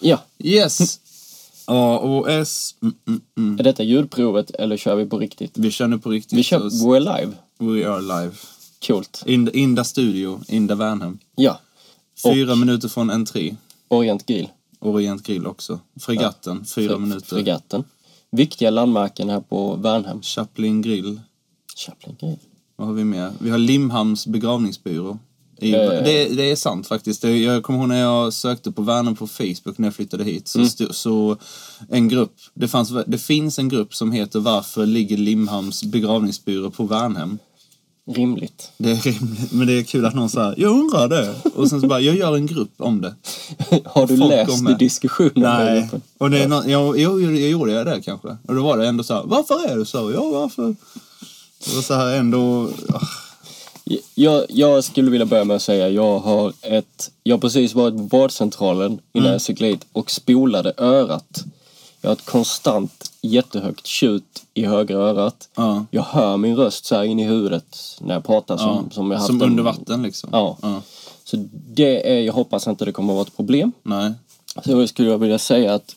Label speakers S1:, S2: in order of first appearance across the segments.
S1: Ja.
S2: Yes!
S1: Mm.
S2: AOS. Mm, mm, mm.
S1: Är detta ljudprovet eller kör vi på riktigt?
S2: Vi kör nu på riktigt.
S1: Vi kör
S2: så-
S1: We're Live.
S2: We are live.
S1: Coolt.
S2: In, in the studio, in the Värnhem.
S1: Ja.
S2: Fyra minuter från entré.
S1: Orient Grill.
S2: Orient grill också. Fregatten, fyra
S1: Fre-
S2: minuter.
S1: Fregatten. Viktiga landmärken här på Värnhem.
S2: Chaplin grill.
S1: Chaplin Grill.
S2: Vad har vi mer? Vi har Limhamns begravningsbyrå. I,
S1: Eh.
S2: det, det är sant faktiskt. Det, jag kommer ihåg när jag sökte på Värnhem på Facebook när jag flyttade hit.
S1: Mm.
S2: Så, sto- så en grupp, det, fanns, det finns en grupp som heter Varför ligger Limhamns begravningsbyrå på Värnhem?
S1: Rimligt.
S2: Det är rimligt, men det är kul att någon säger jag undrar det. Och sen så bara, jag gör en grupp om det.
S1: Har du
S2: Folk
S1: läst
S2: kommer.
S1: i diskussionen? där uppe?
S2: Och det är någon, jag, jag, jag gjorde jag det kanske. Och då var det ändå så här, varför är du så? Ja, varför? Det var så här ändå, ah,
S1: Jag, jag skulle vilja börja med att säga jag har ett... Jag har precis varit på vårdcentralen
S2: Mm.
S1: innan jag cyklade hit och spolade örat. Jag har ett konstant jättehögt tjut i högra örat.
S2: Ja.
S1: Jag hör min röst så här in i huvudet när jag pratar som,
S2: ja,
S1: som jag haft
S2: som
S1: en-
S2: under vatten liksom.
S1: Ja. Så det är, jag hoppas inte det kommer att vara ett problem.
S2: Nej.
S1: Så skulle jag vilja säga att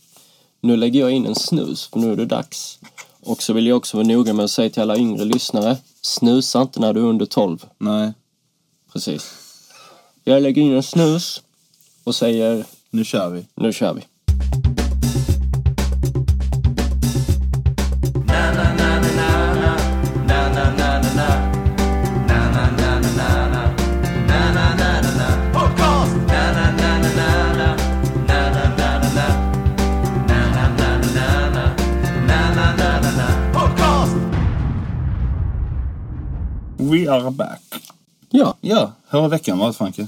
S1: nu lägger jag in en snus, för nu är det dags. Och så vill jag också vara noga med att säga till alla yngre lyssnare, snusa inte när du är under 12.
S2: Nej,
S1: Precis. Jag lägger in en snus och säger
S2: nu kör vi.
S1: nu kör vi.
S2: We are back.
S1: Ja,
S2: Ja, hur har veckan varit Franke?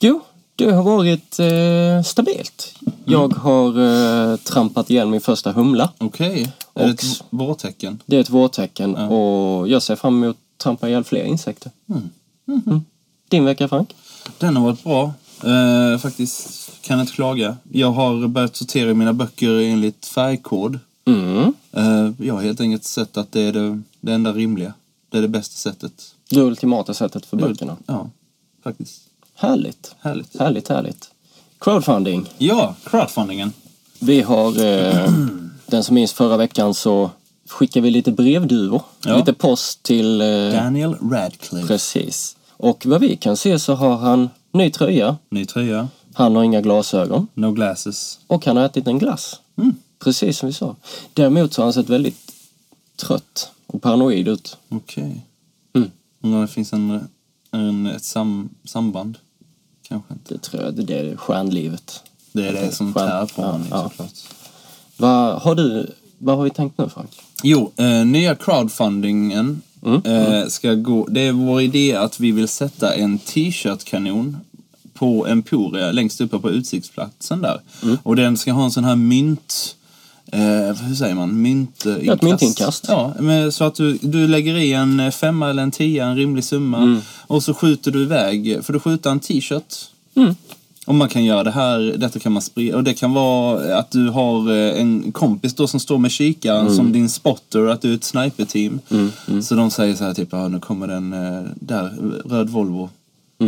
S1: jo, det har varit eh, stabilt. Jag
S2: Mm.
S1: har eh, trampat igen min första humla.
S2: Okej, är det
S1: Och-
S2: ett vårtecken?
S1: Det är ett vårtecken och jag ser fram emot att trampa ihjäl fler insekter. Mm. Din vecka Frank?
S2: Den har varit bra. Eh, faktiskt, kan inte klaga. Jag har börjat sortera mina böcker enligt färgkod.
S1: Mm.
S2: Eh, jag har helt enkelt sett att det är det, det enda rimliga. Det är det bästa sättet.
S1: Det ultimata sättet för böckerna.
S2: Ja, faktiskt.
S1: Härligt.
S2: Härligt.
S1: Härligt, härligt. Crowdfunding.
S2: Ja, crowdfundingen.
S1: Vi har, eh, den som minns förra veckan så skickade vi lite brevduvor.
S2: Ja.
S1: Lite post till... Eh,
S2: Daniel Radcliffe.
S1: precis. Och vad vi kan se så har han ny tröja,
S2: Ny tröja.
S1: han har inga glasögon
S2: No glasses.
S1: och han har ätit en glass.
S2: Mm.
S1: Precis som vi sa. Däremot så har han sett väldigt trött och paranoid ut.
S2: Okej.
S1: Mm.
S2: Undrar om det finns en, en, ett sam, samband? Kanske inte.
S1: Det tror jag, det är stjärnlivet.
S2: Det är det som
S1: Skönt.
S2: tär på
S1: Ja,
S2: honom
S1: ja.
S2: såklart.
S1: Vad har du, vad har vi tänkt nu Frank?
S2: Jo, eh, nya crowdfundingen
S1: Mm,
S2: eh, ska gå... Det är vår idé att vi vill sätta en t-shirt-kanon på Emporia längst uppe på utsiktsplatsen där.
S1: Mm.
S2: Och den ska ha en sån här mynt... Eh, hur säger man? Mynt, eh,
S1: ett myntinkast.
S2: Ja, men så att du, du lägger i en eh, femma eller en tia, en rimlig summa.
S1: Mm.
S2: Och så skjuter du iväg, för du skjuter en t-shirt. Och man kan göra det här, detta kan man sprida. Och det kan vara att du har eh, en kompis då som står med kikaren som din spotter, att du är ett sniperteam. Så de säger så här typ, ah, nu kommer den eh, där, röd Volvo,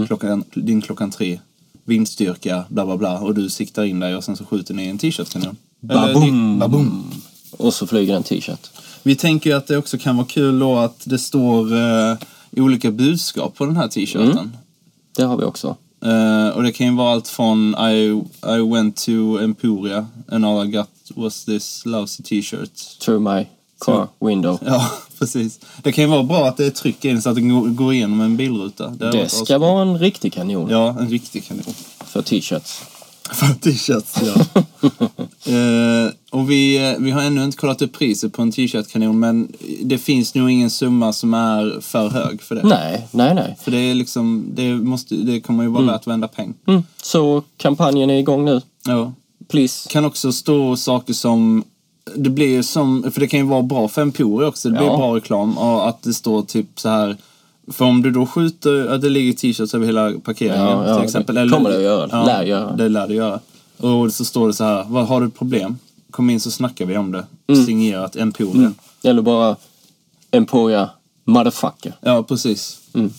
S2: klockan, din klockan tre. Vindstyrka, bla bla bla. Och du siktar in dig och sen så skjuter ni en t-shirt-kanon. Eller
S1: Baboom.
S2: ni- Baboom!
S1: Och så flyger en t-shirt.
S2: Vi tänker ju att det också kan vara kul då att det står eh, olika budskap på den här t-shirten.
S1: Det har vi också.
S2: Eh, och det kan ju vara allt från I, I went to Emporia and all I got was this lousy t-shirt.
S1: Through my
S2: Mm.
S1: car window.
S2: Ja, precis. Det kan ju vara bra att det trycker in så att den går- går igenom en bilruta. Det, har
S1: Det
S2: varit
S1: ska
S2: awesome.
S1: vara en riktig kanon
S2: Ja, en riktig kanon.
S1: för t-shirts.
S2: För t-shirts, ja. Eh, och vi, vi har ännu inte kollat upp priset på en t-shirt-kanon men det finns nog ingen summa som är för hög för det.
S1: Nej, nej, nej.
S2: För det är liksom, det, måste, det kommer ju vara värt varenda peng.
S1: Mm. Så kampanjen är igång nu.
S2: Ja.
S1: Please.
S2: Kan också stå saker som, det blir ju som, för det kan ju vara bra för Emporia också, det blir
S1: Ja.
S2: bra reklam. Och att det står typ så här för om du då skjuter, att det ligger t-shirts över hela parkeringen
S1: Ja, ja,
S2: till exempel.
S1: det kommer det att göra. Lär göra.
S2: Det lär det göra. Och så står det så här, vad har du problem? Kom in så snackar vi om det.
S1: Mm.
S2: Signerat Emporia.
S1: Eller bara Emporia motherfucker.
S2: Ja, precis.
S1: Mm.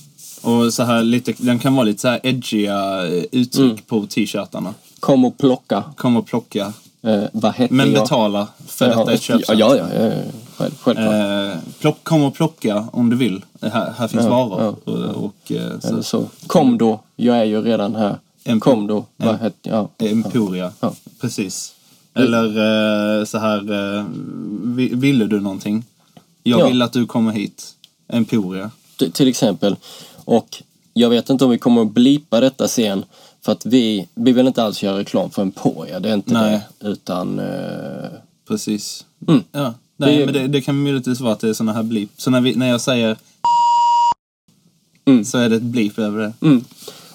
S1: Mm.
S2: Och så här lite, den kan vara lite så här edgiga eh, uttryck på t-shirtarna.
S1: Kom och plocka.
S2: Kom och plocka.
S1: Eh, vad heter
S2: Men
S1: jag?
S2: betala för
S1: Jaha,
S2: detta i
S1: Ja,
S2: köpcentrum.
S1: ja, ja, ja, ja. Själv, självklart.
S2: alltså. Eh, plock, kom och plocka om du vill. Eh, Här, här finns
S1: Ja,
S2: varor.
S1: ja,
S2: och, och, eh, så,
S1: Eller så. Kom då, jag är ju redan här.
S2: En-
S1: Kom då. Vad
S2: en-
S1: heter jag?
S2: Emporia.
S1: Ja.
S2: Precis. Eller eh, så här, eh, vi- ville du någonting? Jag
S1: Ja.
S2: vill att du kommer hit. Emporia.
S1: T- till exempel. Och jag vet inte om vi kommer att blipa detta sen. För att vi, vi vill inte alls göra reklam för Emporia, det är inte
S2: Nej.
S1: det. Utan... Eh,
S2: Precis.
S1: Mm.
S2: Ja. Nej,
S1: Det-
S2: men det, det kan möjligtvis vara att det är såna här blip. Så när, vi, när jag säger
S1: Mm.
S2: så är det ett blip över det.
S1: mm.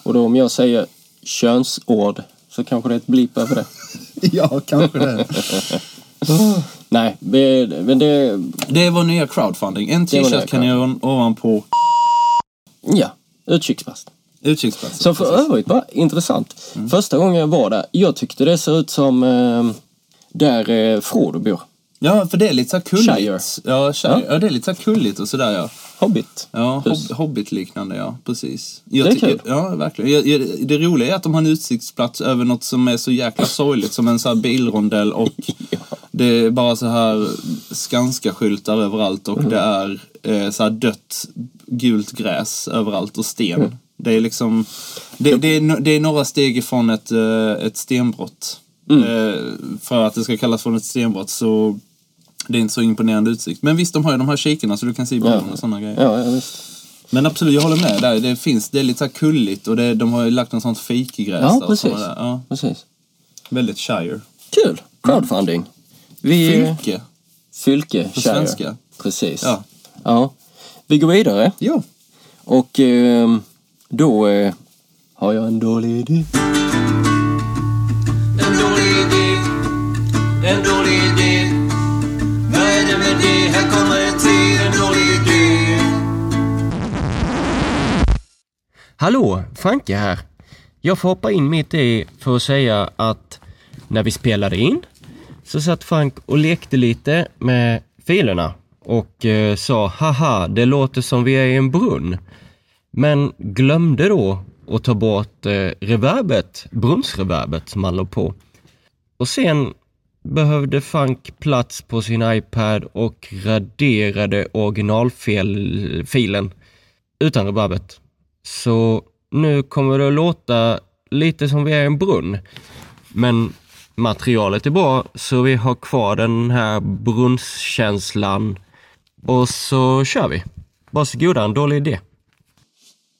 S1: Och då om jag säger könsord så kanske det är ett blip över det.
S2: Ja, kanske det.
S1: Nej, vi, men det...
S2: det är vår nya crowdfunding. En
S1: är vår nya
S2: t-shirt kan ni göra ovanpå
S1: Ja, utkikspass.
S2: utkiksplatsen.
S1: Som för övrigt var intressant. Första gången jag var där, jag tyckte det såg ut som eh, där eh, Frodo bor.
S2: Ja, för det är lite så här
S1: Shire.
S2: kulligt. Ja, Shire. Ja. det är lite så här kulligt och sådär ja.
S1: Hobbit.
S2: Ja,
S1: Hus.
S2: hob- Hobbit-liknande ja, precis. Jag
S1: Det är
S2: ty-
S1: kul.
S2: Ja, verkligen. Jag, jag, det roliga är att de har en utsiktsplats över något som är så jäkla sorgligt som en så här bilrondell och det är bara så här Skanska-skyltar överallt
S1: Mm.
S2: och det är eh, så här dött gult gräs överallt och sten.
S1: Mm.
S2: Det är liksom, det, det, är, no- det är några steg ifrån ett, eh, ett stenbrott.
S1: Mm.
S2: Eh, för att det ska kallas för ett stenbrott så det är inte så imponerande utsikt. Men visst, de har ju de här kikarna så du kan se bilden och sådana grejer.
S1: Ja, ja, visst.
S2: Men absolut, jag håller med där. Det finns, det är lite så här kulligt och det, de har ju lagt något sånt fikegräs
S1: Ja,
S2: där och
S1: precis.
S2: sådana där. Ja,
S1: precis.
S2: Väldigt Shire.
S1: Kul! Crowdfunding.
S2: Mm.
S1: Vi,
S2: Fylke.
S1: Fylke, På
S2: svenska.
S1: Precis.
S2: Ja.
S1: Ja. Vi går vidare
S2: Ja.
S1: och ehm, då eh, har jag en dålig idé.
S3: En dålig idé, en dålig idé. Vad är det med det? Här kommer en till, en dålig idé.
S4: Hallå, Franke här. Jag får hoppa in mitt i för att säga att när vi spelade in så satt Frank och lekte lite med filerna och eh, sa haha, det låter som vi är i en brunn. Men glömde då att ta bort eh, reverbet, brunnsreverbet som han låg på. Och sen behövde Frank plats på sin iPad och raderade originalfilen utan reverbet. Så nu kommer det att låta lite som vi är i en brunn. Men materialet är bra så vi har kvar den här brunnskänslan. Och så kör vi. Varsågoda, en dålig idé.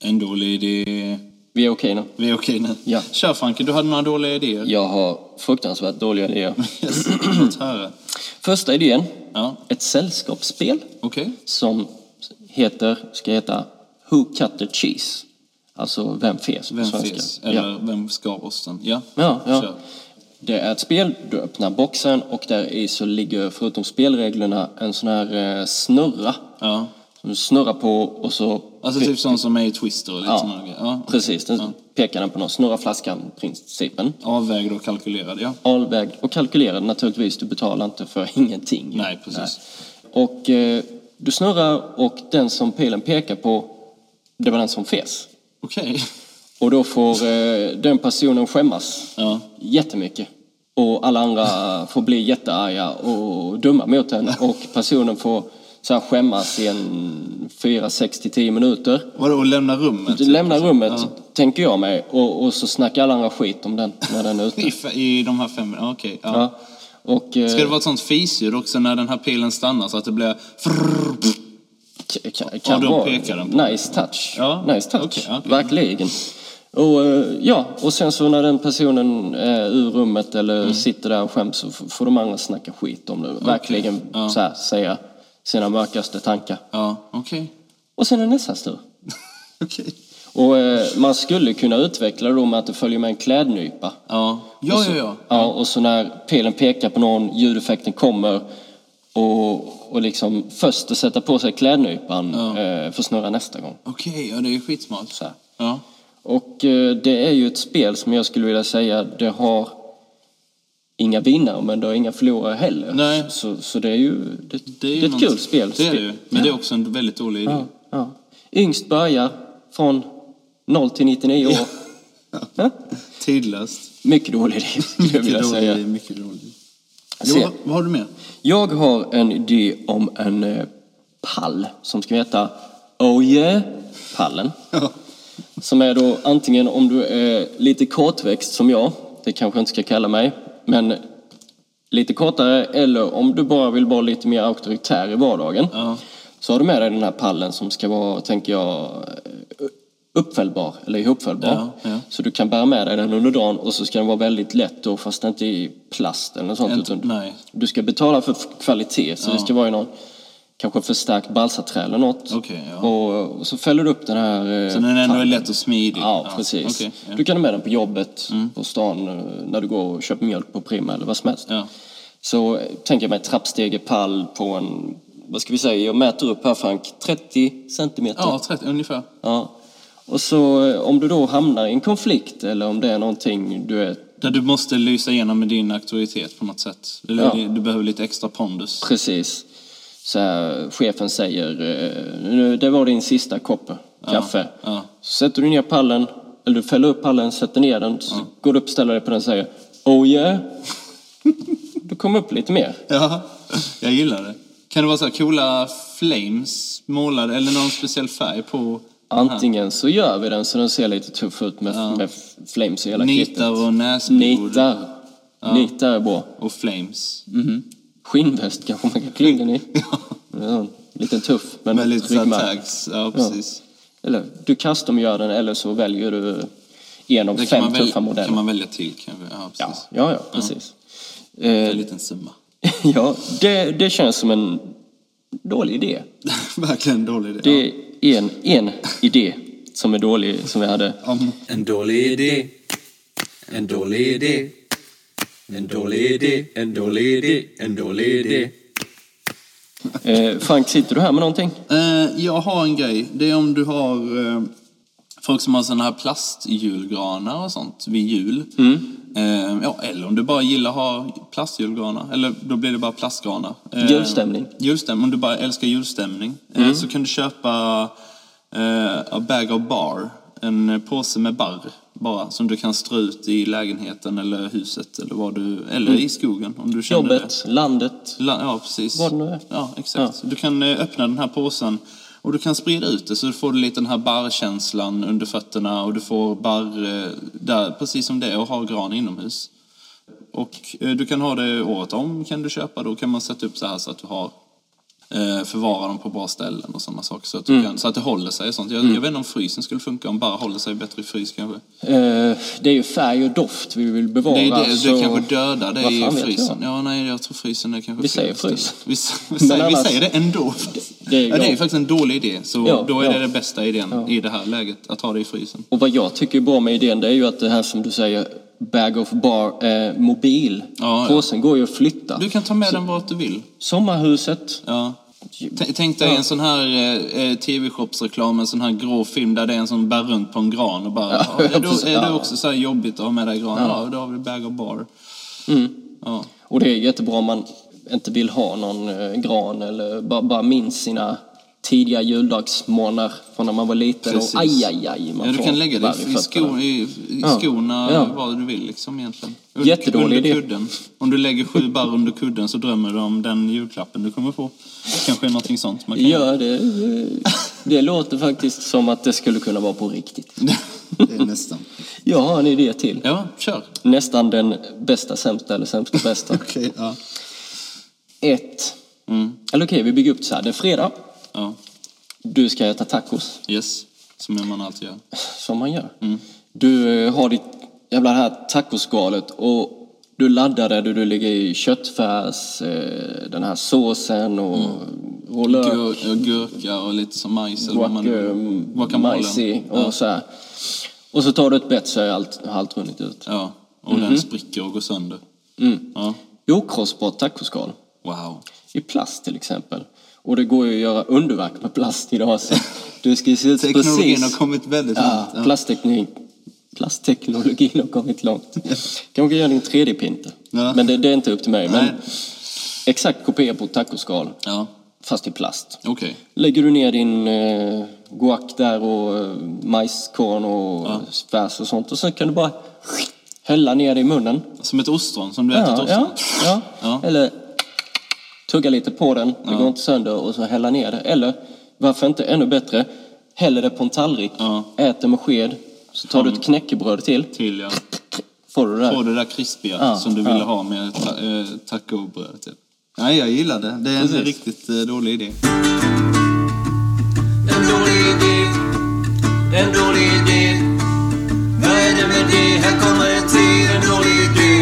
S2: En dålig idé.
S1: Vi är okej nu.
S2: Vi är okej nu.
S1: Ja.
S2: Kör Franke, du hade några dåliga idéer.
S1: Jag har fruktansvärt dåliga idéer.
S2: Yes, låt höra.
S1: Första idén,
S2: Ja,
S1: ett sällskapsspel
S2: okej.
S1: som heter, ska heta Who Cut the Cheese? Alltså, vem fes på
S2: Vem
S1: svenska?
S2: fes?
S1: Ja.
S2: Eller vem skar osten? Ja.
S1: Ja, ja.
S2: Kör.
S1: Det är ett spel, du öppnar boxen och där i så ligger förutom spelreglerna en sån här eh, snurra.
S2: ja.
S1: Som du snurrar på och så...
S2: Alltså typ sån som är i Twister och lite
S1: Ja,
S2: såna grejer. Ja.
S1: precis. Den
S2: Ja.
S1: pekar den på någon. Snurra flaskan, principen.
S2: Avvägd och kalkylerad, ja.
S1: Avvägd och kalkylerad naturligtvis. Du betalar inte för ingenting.
S2: Nej, precis.
S1: Nej. Och eh, du snurrar och den som pilen pekar på, det var den som fes.
S2: Okej.
S1: Och då får eh, den personen skämmas
S2: Ja.
S1: jättemycket. Och alla andra får bli jättearga och dumma mot en. Och personen får så här skämmas i en 4, 6 till 10 minuter.
S2: Vadå, och lämna rummet?
S1: Lämnar rummet, tänker jag mig, och, och så snackar alla andra skit om den när den är ute.
S2: I, fe- I de här fem minuterna? Okej. ja.
S1: Ja. Och, eh,
S2: Ska det vara ett sånt fisljud också när den här pilen stannar så att det blir...
S1: K- Kan,
S2: Och
S1: kan
S2: då
S1: vara
S2: pekar den på
S1: nice touch.
S2: Ja,
S1: Nice touch.
S2: okej, okej.
S1: Verkligen. Och, eh, ja, och sen så när den personen är ur rummet eller
S2: Mm.
S1: sitter där och skäms så f- får de andra snacka skit om det. Verkligen
S2: ja.
S1: så här, säga sina mörkaste tankar.
S2: Ja, okej.
S1: Och sen är nästas tur.
S2: Okej.
S1: Och eh, man skulle kunna utveckla det då med att det följer med en klädnypa.
S2: Ja, ja, ja. ja.
S1: Ja, och så när pilen pekar på någon, ljudeffekten kommer och, och liksom först att sätta på sig klädnypan
S2: Ja.
S1: eh, för att snurra nästa gång.
S2: Okej, ja det är ju skitsmart.
S1: Så här.
S2: Ja.
S1: Och eh, det är ju ett spel som jag skulle vilja säga, det har inga vinnare men det har inga förlorare heller.
S2: Nej.
S1: Så, så det är ju det, det är
S2: ju
S1: ett
S2: något-
S1: kul spel.
S2: Det är det ju. Men det är också en väldigt dålig idé.
S1: Ja, ja. Yngst börjar från 0 till 99 år. Ja.
S2: Tidlöst.
S1: Mycket dålig idé, skulle jag vilja
S2: Mycket dålig,
S1: säga.
S2: mycket dålig.
S1: Se.
S2: Jo, vad, vad har du mer?
S1: Jag har en idé om en eh, pall som ska heta Oh yeah-pallen. Som är då antingen om du är lite kortväxt som jag, det kanske jag inte ska kalla mig, men lite kortare eller om du bara vill vara lite mer auktoritär i vardagen.
S2: Ja.
S1: Så har du med dig den här pallen som ska vara, tänker jag, eh, uppfällbar eller ihopfällbar.
S2: Ja, ja.
S1: Så du kan bära med dig den under dagen och så ska den vara väldigt lätt då fast inte i plast eller något sånt.
S2: Inte-
S1: utan
S2: nej.
S1: Du ska betala för f- kvalitet så det ska vara i någon kanske förstärkt balsaträ eller något.
S2: Okej, ja.
S1: och, och så fäller du upp den här... eh,
S2: Så den ändå är
S1: pallen.
S2: lätt och smidig.
S1: Ja, precis.
S2: okej, ja. Mm.
S1: Du kan ha med den på jobbet, på stan, eh, när du går och köper mjölk på Prima eller vad som helst.
S2: Ja.
S1: Så eh, tänker jag mig trappstege, pall på en, vad ska vi säga, jag mäter upp här Frank, 30 centimeter.
S2: Ja, 30 ungefär.
S1: Ja. Och så eh, om du då hamnar i en konflikt eller om det är någonting du är
S2: Där du måste lysa igenom med din auktoritet på något sätt. Eller
S1: Ja.
S2: du, du behöver lite extra pondus.
S1: precis, så här, chefen säger eh, nu, det var din sista kopp kaffe.
S2: ja.
S1: Så sätter du ner pallen, eller du fäller upp pallen, sätter ner den, så går du upp, ställer dig på den och säger Oh yeah! du kommer upp lite mer.
S2: Ja, jag gillar det. Kan det vara så här coola flames målade eller någon speciell färg på
S1: Antingen så gör vi den så den ser lite tuff ut med, med flames i hela
S2: nitar och näsblod
S1: Nitar. Mm. Nitar är bra.
S2: och flames?
S1: Skinnväst kanske man kan klä in den i. Ja, lite tuff, men
S2: Med lite så här
S1: ryggmärg.
S2: tags. Ja, precis.
S1: Eller du customgör den eller så väljer du en av
S2: Det kan
S1: fem
S2: man, väl,
S1: tuffa
S2: kan
S1: modeller.
S2: man välja till. Kan vi, ja,
S1: Ja,
S2: precis.
S1: ja, ja, precis.
S2: En
S1: Eh,
S2: liten summa.
S1: ja, det, det känns som en dålig idé.
S2: Verkligen dålig idé.
S1: Det är en, en idé som är dålig, som vi hade.
S2: Ja. Om,
S5: En dålig idé. En dålig idé. En dålig idé. En dålig idé. En dålig idé.
S1: Eh, Frank, sitter du här med någonting?
S2: Eh, jag har en grej. Det är om du har eh, folk som har sådana här plastjulgranar och sånt vid jul.
S1: Mm.
S2: Eh, ja, eller om du bara gillar att ha plastjulgranar. Eller då blir det bara plastgranar. Eh,
S1: Julstämning. Mm.
S2: Julstämning. Om du bara älskar julstämning. Eh, så kan du köpa eh, a bag of bar. En påse med barr bara. Som du kan strö ut i lägenheten eller huset. Eller, vad du, eller i skogen om du känner det.
S1: Mm. Jobbet, landet.
S2: La- Ja, precis.
S1: Vad det nu är.
S2: Ja, exakt. Du kan eh, öppna den här påsen och du kan sprida ut det så du får lite den här barrkänslan under fötterna och du får barr eh, där, precis som det är att ha gran inomhus. Och eh, du kan ha det året om, kan du köpa. Då kan man sätta upp så här så att du har eh, förvara dem på bra ställen och sådana saker. Så att, du
S1: Mm.
S2: kan, så att det håller sig och sånt. Jag, jag vet inte om frysen skulle funka, om bara håller sig bättre i frys kanske.
S1: Eh, det är ju färg och doft vi vill bevara.
S2: Det, är det,
S1: så-
S2: det kanske dödar det
S1: Alltså, Vad
S2: i
S1: fan vet jag?
S2: frysen. Ja, nej, jag tror frysen är kanske
S1: Vi
S2: fel
S1: säger
S2: ställe.
S1: frys.
S2: Vi, s- vi, säger, vi
S1: annars-
S2: säger det ändå.
S1: det är
S2: ja, det är
S1: jag.
S2: ju faktiskt en dålig idé, så
S1: Ja,
S2: då är
S1: ja.
S2: det den bästa idén i det här läget, att ha det i frysen.
S1: Och vad jag tycker är bra med idén det är ju att det här som du säger, bag of bar, eh, mobil.
S2: Ja, ja.
S1: Påsen går ju att flytta.
S2: Du kan ta med den vart du vill.
S1: Sommarhuset.
S2: Ja. T- Tänk dig en sån här eh, eh, TV-shopsreklam, en sån här grå film där det är en som bär runt på en gran och bara...
S1: Ja,
S2: Ja, är,
S1: precis.
S2: det, är det
S1: Ja.
S2: också så här jobbigt att ha med dig gran? Ja. då har vi bag of bar.
S1: Mm.
S2: Ja.
S1: Och det är jättebra om man inte vill ha någon eh, gran eller bara, bara minns sina tidiga juldagsmånader från när man var liten.
S2: Precis.
S1: Och aj, aj, aj. Man
S2: Ja, du
S1: får
S2: kan lägga det
S1: värre
S2: i, i, sko,
S1: fötterna.
S2: i, i
S1: Ja.
S2: skorna,
S1: Ja.
S2: vad du vill liksom egentligen.
S1: Jättedålig
S2: under
S1: idé.
S2: Kudden. Om du lägger sju barr under kudden så drömmer du om den julklappen du kommer få. Kanske någonting sånt man kan göra.
S1: Ja, det, eh, det låter faktiskt som att det skulle kunna vara på riktigt.
S2: det är nästan.
S1: Jag har en idé till.
S2: Ja, kör.
S1: Nästan den bästa sämsta eller sämsta bästa.
S2: Okej, Mm. ja.
S1: Ett. Eller okej, vi bygger upp så här. Det är fredag.
S2: ja.
S1: Du ska äta tacos,
S2: Yes, som man alltid gör.
S1: som man gör.
S2: Mm.
S1: Du eh, har ditt jävla här tacoskalet och du laddar det. Du, du lägger i köttfärs, eh, den här såsen och, och lök.
S2: Gur- och gurka och lite som majs eller Mm. vad man
S1: guac-
S2: Guacamole.
S1: eh, majs i och
S2: Ja.
S1: så här. Och så tar du ett bett så är allt, har allt runnit ut.
S2: ja, och den spricker och går sönder.
S1: Mhm. Mm.
S2: Ja.
S1: Okrossbart tacoskal.
S2: Wow.
S1: I plast till exempel. Och det går ju att göra underverk med plast idag. Så du ska ju se ut
S2: Teknologin
S1: precis...
S2: har kommit väldigt
S1: Ja,
S2: långt. Ja.
S1: plastteknik, plastteknologin har kommit långt. Kanske gör en 3D-printer.
S2: Ja.
S1: Men det, det är inte upp till mig.
S2: Nej.
S1: Men exakt kopia på ett tacoskal,
S2: Ja,
S1: fast i plast.
S2: okej.
S1: Lägger du ner din eh, guac där och eh, majskorn och färs och sånt och sen kan du bara Hälla ner det i munnen.
S2: Som ett ostron, som du äter ett
S1: ja,
S2: ostron.
S1: ja, ja.
S2: Ja.
S1: Eller tugga lite på den, det
S2: Ja.
S1: går inte sönder, och så hälla ner det. Eller, varför inte ännu bättre, häller det på en tallrik,
S2: Ja.
S1: ät det med sked, så tar du ett knäckebröd till,
S2: Till ja.
S1: får du det
S2: Får
S1: där.
S2: det där krispiga
S1: Ja,
S2: som du
S1: ja.
S2: ville ha med ta- eh, tacobröd. Typ. Nej, jag gillar det. Det är en
S1: Precis.
S2: riktigt eh, dålig idé.
S3: En dålig idé, en dålig idé. Vad är det med det? Här kommer en till, en dålig idé.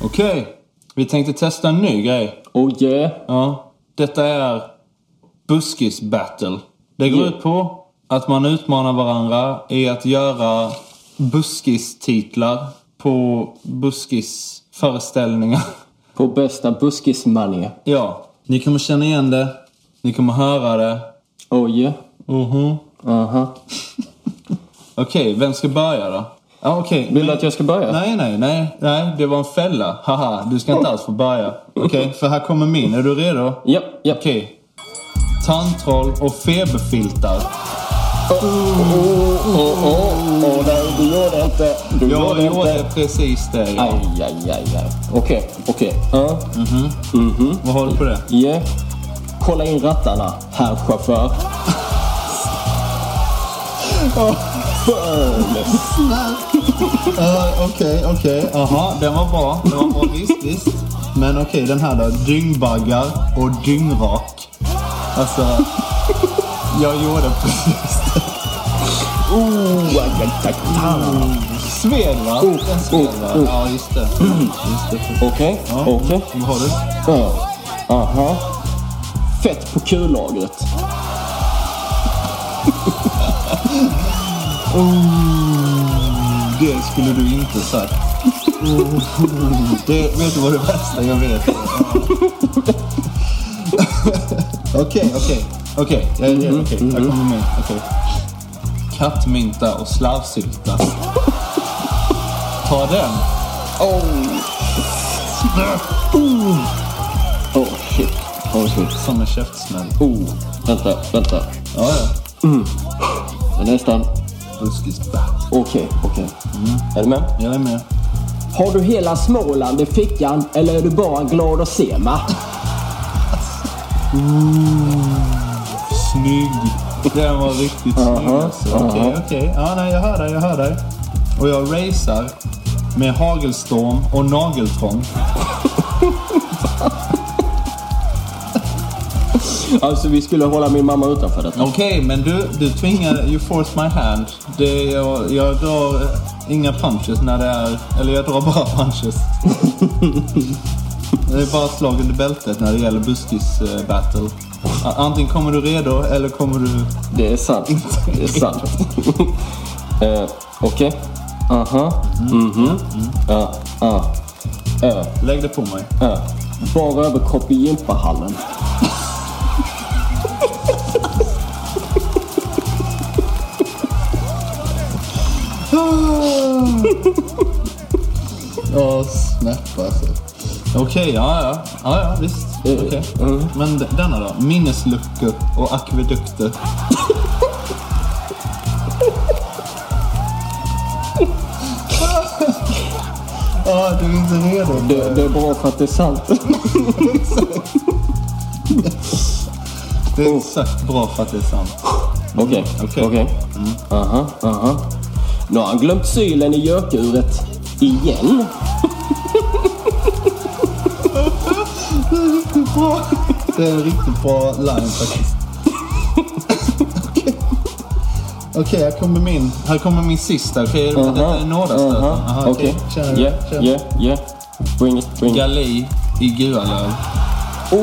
S2: Okej, vi tänkte testa en ny grej.
S1: Oh yeah!
S2: Ja, detta är Buskis Battle. Det går ut på att man utmanar varandra i att göra buskis-titlar på buskis-föreställningar.
S1: På bästa buskismania.
S2: Ja, ni kommer känna igen det. Ni kommer höra det.
S1: Oh yeah.
S2: Mhm.
S1: Aha.
S2: Okej, vem ska börja då? Ja, okej.
S1: Vill du att jag ska börja?
S2: Nej, nej, nej, nej. Det var en fälla. Haha, du ska inte alls få börja. Okej, för här kommer min. Är du redo?
S1: Ja, ja.
S2: Okej. Tandtroll och feberfiltar.
S1: Åh, åh, åh, åh, nej, du gjorde inte. Du
S2: Jag gjorde precis det. ja.
S1: Aj, aj, aj, aj. Okej, okej. Ja,
S2: Vad har du på det?
S1: yeah. Kolla in rattarna, herr chaufför.
S2: Eh, Okej, okej. Jaha, den var bra. Den var bra, visst, visst. Men okej, den här då. Dyngbaggar och dyngrak. Alltså, jag gjorde precis det.
S1: Oh, aj, aj, aj, fan.
S2: Sved va? Den sved va? Ja, just det. Just det.
S1: Okej,
S2: Ja,
S1: oh, okej.
S2: Vad har du?
S1: Ja. Aha. Fett på kullagret.
S2: Det skulle du inte sagt. Det, vet du vad det värsta jag vet? Okej, okej. Okej, jag är redo. Okej, jag kommer med. Okej. Kattmynta och slarvsylta. Ta den.
S1: Åh, shit. Åh, shit.
S2: Som en käftsmäll.
S1: Oh, vänta, vänta.
S2: Ja, ja.
S1: Det är Nästan.
S2: Buskis.
S1: Okej, okej. Är du med?
S2: Jag är med.
S6: Mm. Har du hela Småland i fickan eller är du bara glad att se mig?
S2: Snygg. Den var riktigt snygg alltså. Okej, okej. Ja, nej, jag hör dig, jag hör dig. Och jag racear med hagelstorm och nageltrång.
S1: Alltså, vi skulle hålla min mamma utanför detta.
S2: Okej, men du, du tvingar... You force my hand. Det, jag, jag drar eh, inga punches när det är... Eller jag drar bara punches. det är bara slag under bältet när det gäller buskis-battle. Antingen kommer du redo eller kommer du...
S1: Det är sant. Det är sant. Eh, Okej. Aha.
S6: Mm.
S1: Mhm. Ja. Ja. Ö.
S2: Lägg det på mig.
S1: Ö. Bara överkropp i gympahallen.
S2: Ja, snäpp alltså. Eh, Okej, ja, ja. Ja, ja, visst. Okej. Men d- denna då? Minnesluckor och akvedukter. Ja, du är inte redo.
S1: Det, det är bra för att det är sant.
S2: Det är exakt bra för att det är sant.
S1: Okej.
S2: okej.
S1: Okej. Mm. Aha. Aha. Nu har han glömt sylen i gökuret. Igen.
S2: Det är en riktigt bra line faktiskt. Okej. Okej, här kommer min. Här kommer min sista. Okej, okay, detta är nådastöten. Aha,
S1: Okej.
S2: Kör, kör.
S1: Yeah, yeah, yeah. Bring it, bring it.
S2: Galli i Gualöv.
S1: Oh,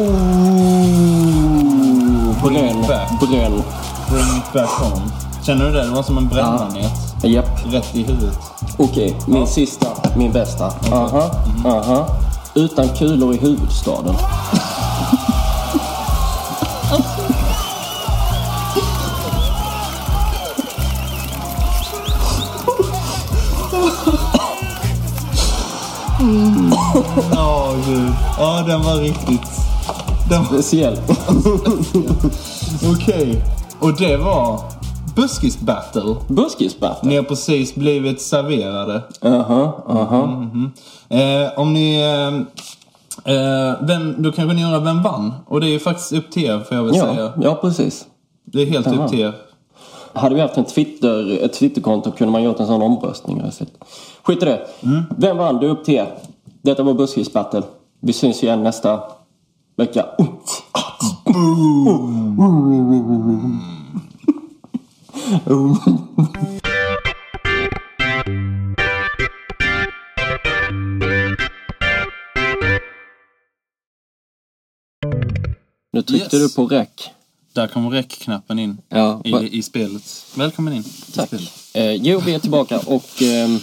S2: Bring
S1: bränn,
S2: it back.
S1: bränn.
S2: Bring it back home. Känner du det? Det var som en brännmanet.
S1: Japp.
S2: Rätt i huvudet.
S1: Okej, min sista, min bästa. Aha,
S2: Mm.
S1: aha. Utan kulor i huvudstaden.
S2: Ja, gud. Ja, den var riktigt... Den var...
S1: Speciellt.
S2: Okej. Och det var buskis-battle.
S1: Buskisbatten?
S2: Ni har precis blivit serverade.
S1: Aha, aha.
S2: Mhm. Eh, om ni... Eh, eh, vem, då kanske ni undrar vem vann? Och det är ju faktiskt upp till er, får jag väl
S1: Ja,
S2: säga.
S1: ja, precis.
S2: Det är helt upp till er.
S1: Hade vi haft en Twitter, ett Twitterkonto kunde man gjort en sån omröstning. har jag sett. Skit i det. Vem vann? Det är upp till er. Detta var Buskisbattle. Vi syns igen nästa vecka. Nu tryckte
S2: Yes.
S1: du på räck.
S2: Där kommer räckknappen in
S1: Ja, va-
S2: i, i spelet. Välkommen in.
S1: Tack. Eh, jo, vi är tillbaka och ehm,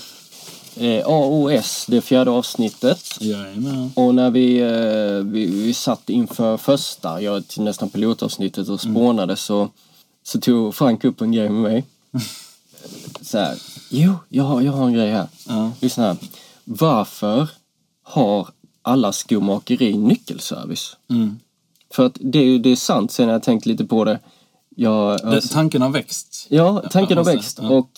S1: eh, AOS, det fjärde avsnittet.
S2: Jajamän.
S1: Och när vi, eh, vi, vi satt inför första, ja, till nästan pilotavsnittet och
S2: Mm.
S1: spånade så, så tog Frank upp en grej med mig. Så här, jo, jag har, jag har en grej här.
S2: Ja.
S1: Lyssna här. Varför har alla skomakeri nyckelservice?
S2: Mm.
S1: För att det, är ju- det är sant, sen har jag tänkt lite på det. Jag,
S2: Det, tanken har växt.
S1: Ja, tanken har
S2: måste-
S1: växt.
S2: Alltså, ja.
S1: Och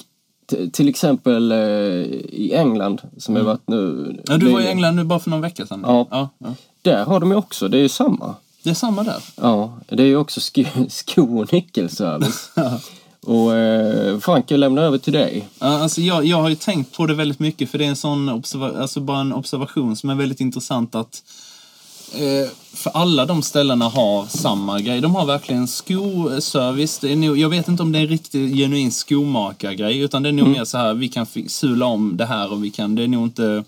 S1: t- till exempel eh, i England, som jag varit nu...
S2: Mm. Ja, du var i
S1: nyligen,
S2: England nu bara för någon vecka sedan.
S1: Ja.
S2: Ja, ja.
S1: Där har de ju också, det är ju samma.
S2: Det är samma där.
S1: Ja, det är ju också sko, sko och nyckelservice. och eh, Frank, jag lämnar över till dig.
S2: Ja, Alltså jag, jag har ju tänkt på det väldigt mycket för det är en sån observa- alltså bara en observation som är väldigt intressant att eh, för alla de ställena har samma grej. De har verkligen skoservice. Det är nog, jag vet inte om det är en riktig genuin skomakargrej utan det är
S1: Mm.
S2: nog mer så här vi kan fi- sula om det här och vi kan, det är nog inte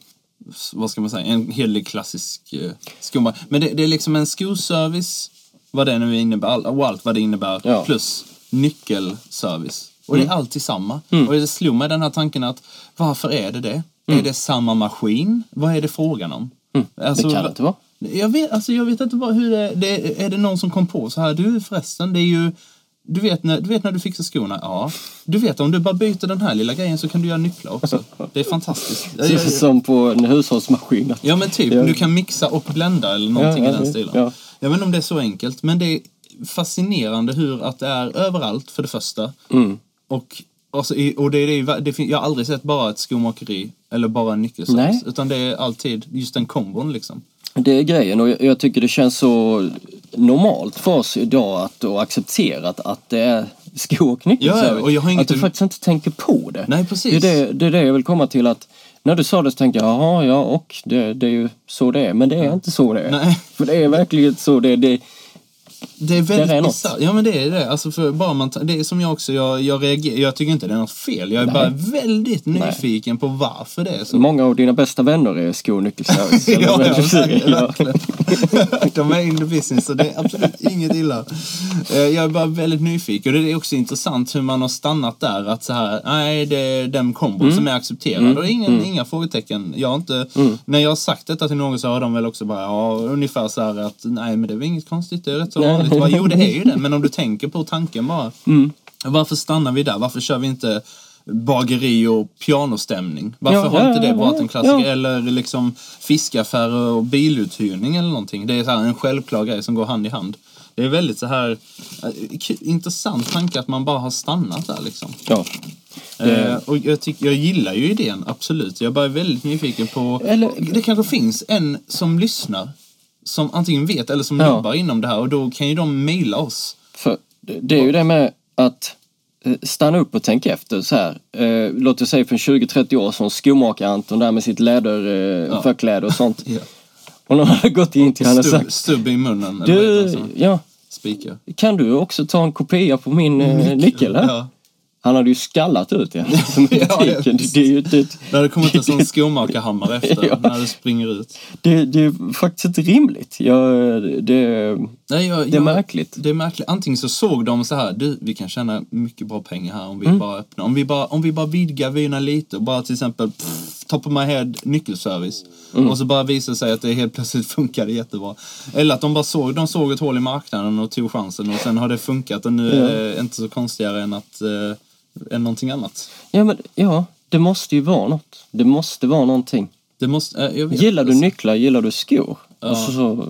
S2: s- vad ska man säga, en hel del klassisk eh, skomakare. Men det, det är liksom en skoservice, vad det nu innebär, all- och allt vad det innebär,
S1: Ja. Mm.
S2: plus nyckelservice. Och det är alltid samma. Och det slog mig den här tanken att varför är det det? Är det samma maskin? Vad är det frågan om? Alltså,
S1: Mm. det kan det inte vara.
S2: jag vet, alltså jag vet inte vad, hur det, det är. det någon som kom på så här? Du förresten, det är ju... Du vet, när, du vet när du fixar skorna? Ja. Du vet om du bara byter den här lilla grejen så kan du göra nycklar också. Det är fantastiskt. Jag- jag-
S1: Som på en hushållsmaskin. att-
S2: Ja men typ,
S1: Ja.
S2: du kan mixa och blända eller någonting
S1: Ja,
S2: i
S1: ja,
S2: den
S1: ja.
S2: stilen.
S1: Ja.
S2: Jag vet inte om det är så enkelt, men det är fascinerande hur att det är överallt för det första.
S1: Mm.
S2: Och, alltså, i- och det, är- det, är- det, fin- jag har aldrig sett bara ett skomakeri eller bara en nyckelservice.
S1: Nej.
S2: Utan det är alltid just den kombon liksom.
S1: Det är grejen och jag, jag tycker det känns så normalt för oss idag att och accepterat att det är sko och nyckelservice.
S2: Ja, ja, och jag har inget
S1: Att du
S2: em-
S1: faktiskt inte tänker på det.
S2: Nej, precis.
S1: Det är det, det är det jag vill komma till att när du sa det så tänkte jag, jaha, ja och det, det är ju så det är. Men det är inte så det är.
S2: Nej.
S1: För det är verkligen så det är. Det,
S2: Det är väldigt
S1: Där är något.
S2: bisarrt. Ja men det är det. Alltså för bara man ta- det är som jag också, jag, jag reagerar, jag tycker inte det är något fel. Jag är bara väldigt nyfiken på varför det är så.
S1: många av dina bästa vänner är sko och nyckelservice. eller
S2: ja,
S1: vad
S2: ja,
S1: du säger.
S2: verkligen, verkligen. De är in the business så det är absolut inget illa. Eh, Jag är bara väldigt nyfiken och det är också intressant hur man har stannat där att så här, nej det är den kombon som är accepterad och det är ingen, inga frågetecken. Jag har inte, När jag har sagt detta till någon så har de väl också bara, ja ungefär så här att nej men det är väl inget konstigt, det är rätt så vanligt. Bara, jo det är ju det, men om du tänker på tanken bara. Varför stannar vi där? Varför kör vi inte bageri och pianostämning? Varför
S1: Ja,
S2: Alltså, har
S1: ja,
S2: inte det
S1: ja,
S2: varit
S1: ja,
S2: en klassiker?
S1: ja.
S2: Eller liksom fiskaffärer och biluthyrning eller någonting. Det är så här en självklar grej som går hand i hand. Det är väldigt så här eh, k- intressant tanke att man bara har stannat där liksom.
S1: Ja.
S2: Eh, och jag, tycker, jag gillar ju idén, absolut. Jag är bara väldigt nyfiken på...
S1: Eller-
S2: Det kanske finns en som lyssnar som antingen vet eller som
S1: Ja.
S2: jobbar inom det här och då kan ju de mejla oss.
S1: För det det är ju det med att eh, stanna upp och tänka efter så här. Eh, låt oss säga för 20-30 år sedan, skomakar-Anton där med sitt läder, eh,
S2: Ja.
S1: förkläde och sånt.
S2: Ja.
S1: Och någon hade gått in till honom och
S2: Stubb,
S1: sagt
S2: stubb i munnen. eller vad heter det
S1: Du,
S2: som-
S1: ja,
S2: Spikar.
S1: kan du också ta en kopia på min eh, nyckel här?
S2: Mm. Ja.
S1: Han hade ju skallat ut det. Som i
S2: Ja, ja,
S1: butiken. det, det, är ju inte,
S2: När det kommer en sån skomakarhammare efter,
S1: Ja.
S2: när du springer ut.
S1: det, det är faktiskt inte rimligt. Jag, det,
S2: Nej, jag,
S1: Det är
S2: jag,
S1: märkligt.
S2: Det är märkligt. Antingen så såg de så här, du, vi kan tjäna mycket bra pengar här om vi
S1: Mm.
S2: bara öppnar. Om vi bara, om vi bara vidgar vyerna lite och bara till exempel pff, top of my head nyckelservice.
S1: Mm.
S2: Och så bara visar det sig att det helt plötsligt funkade jättebra. Eller att de bara såg, de såg ett hål i marknaden och tog chansen och sen har det funkat och nu är det inte så konstigare än att eh, än någonting annat.
S1: ja, men, ja, det måste ju vara något. Det måste vara någonting.
S2: Det måste, eh, jag vet,
S1: Gillar du
S2: alltså.
S1: nycklar, gillar du skor? Alltså, så,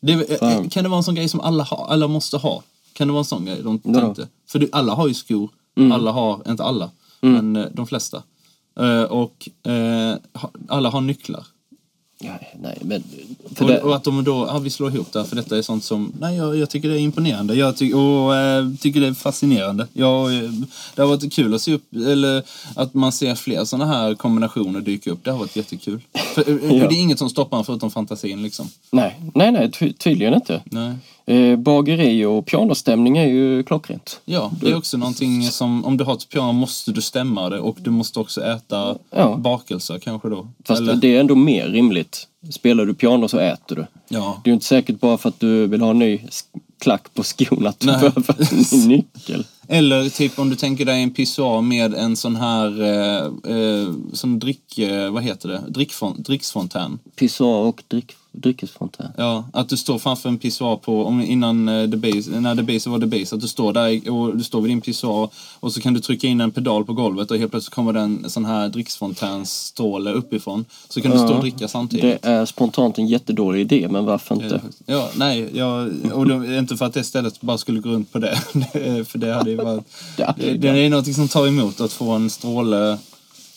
S2: Det, är-
S1: Fan.
S2: kan det vara en sån grej som alla, har, alla måste ha? Kan det vara en sån grej de
S1: Vadå? Mm.
S2: tänkte? För du, alla har ju skor. Alla har, inte alla, men eh, de flesta. Eh, och eh, ha- alla har nycklar.
S1: Ja, nej, men... För
S2: Och,
S1: det,
S2: och att de då, ja vi slår ihop det här, för detta är sånt som, nej jag, jag tycker det är imponerande. Jag ty- och eh, tycker det är fascinerande. Jag, eh, det har varit kul att se upp, eller att man ser fler såna här kombinationer dyka upp. Det har varit jättekul. För, eh, eh,
S1: Ja.
S2: Det är inget som stoppar en förutom fantasin liksom.
S1: nej, nej, nej, ty, tydligen inte.
S2: Nej.
S1: Eh, bageri och pianostämning är ju klockrent.
S2: Ja, det är också någonting som, om du har ett piano måste du stämma det och du måste också äta
S1: Ja.
S2: bakelser kanske då.
S1: Fast
S2: eller,
S1: det är ändå mer rimligt. Spelar du piano så äter du.
S2: ja.
S1: Det är ju inte säkert bara för att du vill ha en ny sk- klack på skon att du
S2: Nej.
S1: behöver en ny nyckel.
S2: eller typ om du tänker dig en pissoar med en sån här, eh, eh, som drick, eh, vad heter det, Drickfon, dricksfontän.
S1: Pissoar och dryck, dryckesfontän.
S2: Ja, att du står framför en pissoar på, om, innan eh, Debase, när Debase var Debase, att du står där och du står vid din pissoar och så kan du trycka in en pedal på golvet och helt plötsligt kommer det en sån här dricksfontänsstråle uppifrån. Så kan du stå och dricka samtidigt.
S1: Det är spontant en jättedålig idé, men varför inte?
S2: Ja, nej, jag, och det, inte för att det stället bara skulle gå runt på det. för det hade ju varit...
S1: Ja.
S2: Det, det är något som tar emot att få en stråle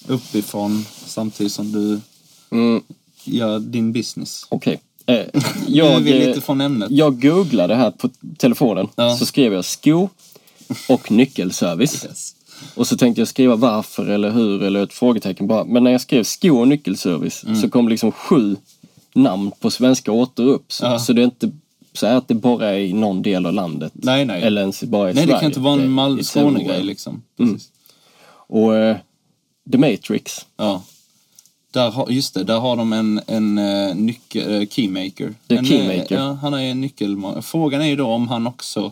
S2: uppifrån samtidigt som du
S1: Mm,
S2: gör din business.
S1: Okej. Eh,
S2: Jag,
S1: jag,
S2: vi är lite
S1: eh,
S2: från ämnet.
S1: jag googlade här på telefonen,
S2: Ja.
S1: så skrev jag sko och nyckelservice.
S2: Yes.
S1: Och så tänkte jag skriva varför eller hur eller ett frågetecken bara. Men när jag skrev sko och nyckelservice
S2: Mm.
S1: så kom liksom sju namn på svenska åter upp. Så,
S2: Ja.
S1: så det är inte så här att det bara är i någon del av landet.
S2: Nej, nej.
S1: Eller ens bara i
S2: nej,
S1: Sverige.
S2: det kan inte vara
S1: Det- Mm.
S2: en Mal-
S1: it's
S2: Skåne-grej
S1: everywhere.
S2: liksom. Precis.
S1: Och eh, The Matrix.
S2: Ja. Där har, just det, där har de en, en eh, nyckel, eh, keymaker.
S1: Det är
S2: en, eh,
S1: keymaker.
S2: Ja, han är en nyckel. Frågan är ju då om han också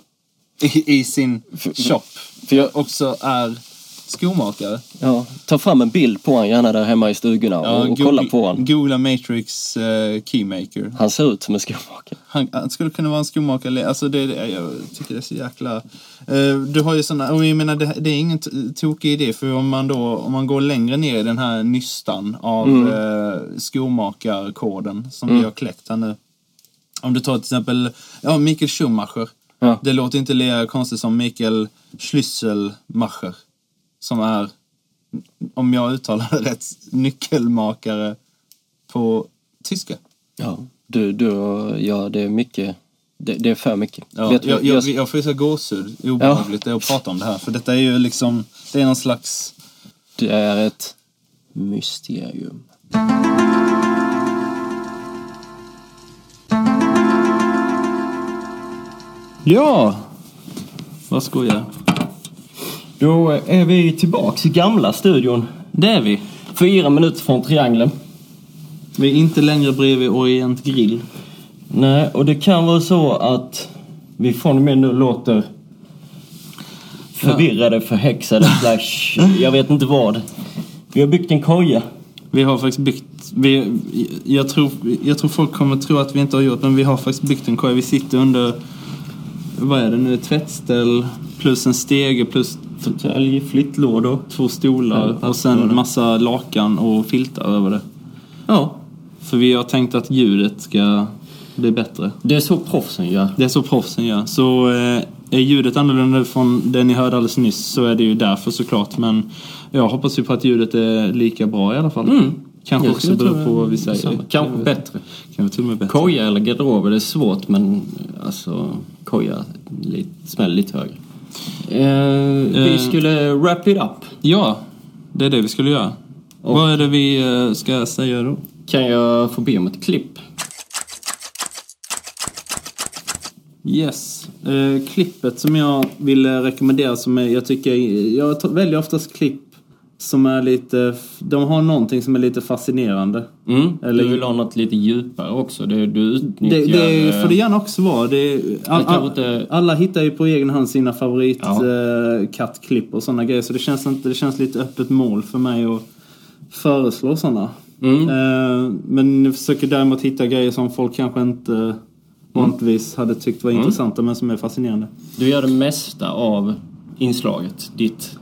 S2: i, i sin shop
S1: För jag-
S2: också är skomakare.
S1: Ja, ta fram en bild på han gärna där hemma i stugorna och, och kolla på han.
S2: Googla Matrix eh, Keymaker.
S1: Han ser ut som en skomakare.
S2: Han, han skulle kunna vara en skomakare. eller- Alltså det, det, jag tycker det är så jäkla... Eh, du har ju såna... Och jag menar, det, det är ingen t- tokig idé. För om man då... Om man går längre ner i den här nystan av
S1: Mm.
S2: eh, skomakarkoden som vi har kläckt här nu. Om du tar till exempel ja, Michael Schumacher.
S1: Ja.
S2: Det låter inte lika konstigt som Michael Schlüsselmacher. Som är, om jag uttalar det rätt, nyckelmakare på tyska.
S1: Ja, du, du, ja det är mycket. Det, det är för mycket.
S2: Ja,
S1: Vet du,
S2: jag,
S1: jag-
S2: jag, jag får ju så obehagligt det är obehagligt att prata om det här. För detta är ju liksom, det är någon slags...
S1: Det är ett mysterium.
S2: Ja! Vad skojar
S1: Då är vi tillbaks i gamla studion.
S2: Det är vi.
S1: Fyra minuter från triangeln.
S2: Vi är inte längre bredvid Orient Grill.
S1: Nej, och det kan vara så att vi från och med nu låter förvirrade, förhäxade, slash, jag vet inte vad. Vi har byggt en koja.
S2: Vi har faktiskt byggt... Vi, jag, tror, jag tror folk kommer tro att vi inte har gjort men vi har faktiskt byggt en koja. Vi sitter under... Vad är det nu? Ett tvättställ plus en stege plus
S1: Fåtölj, flyttlådor.
S2: två stolar
S1: Ja,
S2: och sen massa lakan och filtar över det. Ja. För vi har tänkt att ljudet ska bli bättre.
S1: Det är så proffsen gör.
S2: Det är så proffsen gör. Så eh, är ljudet annorlunda från det ni hörde alldeles nyss så är det ju därför såklart. Men jag hoppas ju på att ljudet är lika bra i alla fall. Kanske
S1: Jag
S2: också
S1: skulle
S2: beror
S1: tro
S2: på vad vi säger.
S1: detsamma. Kanske bättre.
S2: Kanske till och med bättre.
S4: Koja eller garderober, det är svårt men alltså koja lite, smäller lite högre. Eh,
S2: Eh.
S4: vi skulle wrap it up.
S2: Ja, det är det vi skulle göra. Vad är det vi eh, ska säga då?
S4: Kan jag få be om ett klipp?
S2: Yes. Eh, klippet som jag vill eh, rekommendera som är, jag tycker, jag t- väljer oftast klipp som är lite, f- de har någonting som är lite fascinerande.
S4: Mm.
S2: Eller-
S4: Du vill ha något lite djupare också. Det, du utnyttjar...
S2: Det, det
S4: eh,
S2: får det gärna också vara. Det, all,
S4: kanske
S2: all,
S4: inte-
S2: alla hittar ju på egen hand sina favorit
S4: Ja.
S2: eh, kattklipp och sådana grejer. Så det känns, inte, det känns lite öppet mål för mig att föreslå sådana.
S4: Mm.
S2: Eh, men jag försöker däremot hitta grejer som folk kanske
S4: Mm.
S2: inte vanligtvis hade tyckt var intressanta men som är fascinerande.
S4: Du gör det mesta av inslaget, ditt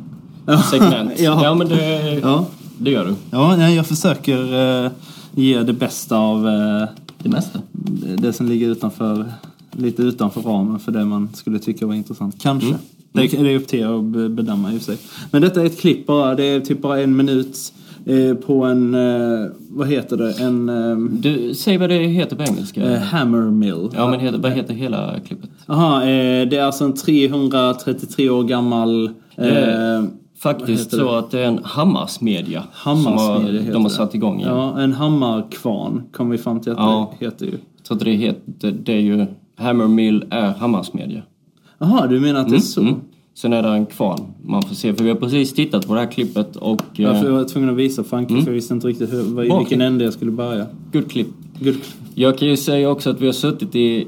S4: segment.
S2: Ja.
S4: ja men det,
S2: Ja,
S4: det gör du.
S2: ja nej, jag försöker eh, ge det bästa av eh,
S4: Det mesta.
S7: Mm.
S2: det som ligger utanför, lite utanför ramen för det man skulle tycka var intressant. Kanske. Det är, det är upp till er att be- bedöma i och för sig. Men detta är ett klipp bara. Det är typ bara en minut eh, på en, eh, vad heter det, en eh,
S7: Du, säg vad det heter på engelska.
S2: eh, hammer mill.
S7: Ja, men heter, vad heter hela klippet?
S2: Aha, eh, det är alltså en 333 år gammal... Eh,
S7: Faktiskt
S2: heter det?
S7: så att det är en hammarsmedja.
S2: Hammarsmedja
S7: som
S2: heter
S7: har, de har
S2: det.
S7: satt igång igen.
S2: Ja, en hammarkvarn kom vi fram till att
S7: Ja.
S2: det heter ju.
S7: Så att det heter, det är ju, Hammermill är hammarsmedja.
S2: Jaha, du menar att det är så?
S7: Mm. Sen är det en kvarn man får se, för vi har precis tittat på det här klippet och...
S2: Varför jag
S7: Eh,
S2: var tvungen att visa Franke för jag visste inte riktigt hur, var, i
S7: Mm. Bra
S2: vilken
S7: klipp.
S2: ände jag skulle börja.
S7: good klipp.
S2: Gud,
S7: Jag kan ju säga också att vi har suttit i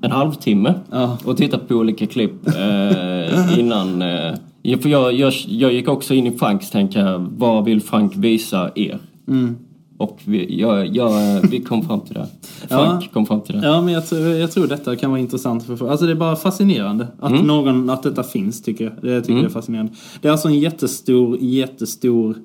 S7: en halvtimme
S2: Ja.
S7: och tittat på olika klipp eh, innan. Eh, ja, för jag, jag, jag gick också in i Franks tänka, vad vill Frank visa er? Och vi, jag, jag, vi kom fram till det. Frank
S2: Ja.
S7: kom fram till det.
S2: Ja, men jag, tror- jag tror detta kan vara intressant för folk. Alltså det är bara fascinerande att,
S7: Mm.
S2: någon, att detta finns tycker jag. Det tycker jag är fascinerande. Det är alltså en jättestor, jättestor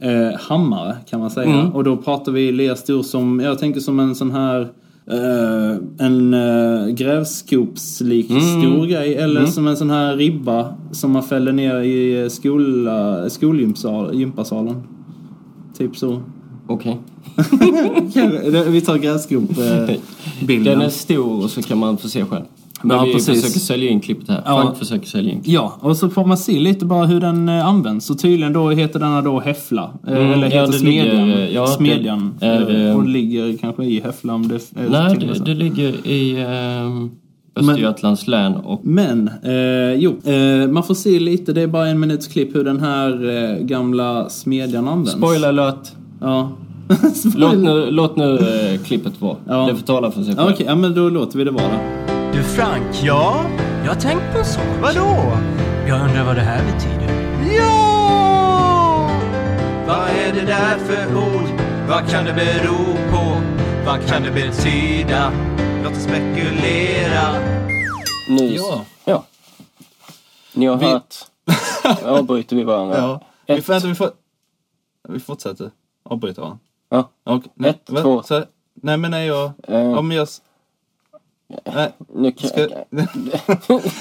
S2: eh, hammare kan man säga.
S7: Mm.
S2: Och då pratar vi lerstor som, jag tänker som en sån här eh, en uh, grävskopslik
S7: Mm.
S2: stor grej eller som en sån här ribba som man fäller ner i eh, skola, skolgympasalen. Typ så.
S7: Okej.
S2: Vi tar grävskopsbilden.
S7: Den
S1: Mm.
S7: är stor och så kan man få se själv. Men
S2: Ja,
S7: vi
S2: precis.
S7: försöker sälja in klippet här.
S2: Ja.
S7: Frank försöker sälja in klippet.
S2: Ja, och så får man se lite bara hur den eh, används. Så tydligen då heter denna då häffla. Eh, Eller
S7: Mm, ja,
S2: heter
S7: det
S2: smedjan.
S7: ligger, eh, ja, det
S2: smedjan.
S7: är,
S2: Eh,
S7: eh,
S2: och ligger kanske i häffla om det eh,
S7: Nej,
S2: till och
S7: det,
S2: med så.
S7: det ligger i ehm, Östergötlands län och...
S2: Men, eh, jo. Eh, man får se lite, det är bara en minuts klipp hur den här eh, gamla smedjan används.
S7: Spoiler alert!
S2: Ja. Spoiler.
S7: Låt nu, låt nu eh, klippet vara.
S2: Ja.
S7: Det får tala för sig
S2: Ja,
S7: själv.
S2: Okej, ja, men då låter vi det vara.
S8: Du Frank? Ja? Jag har tänkt på en sak. Vadå? Jag undrar vad det här betyder.
S5: Vad är det där för ord? Vad kan det bero på? Vad kan det betyda? Låt oss spekulera.
S1: Nu, ja. Ni har hört... Avbryter vi varandra?
S2: Ja. Vi, får, vänta, vi, får, vi fortsätter. Avbryta varandra.
S1: Ja.
S2: Och, nej,
S1: Ett, två.
S2: Så, nej, men nej, jag...
S1: Eh,
S2: Ja, men jag... s- Nej.
S1: nu kan,
S2: Ska...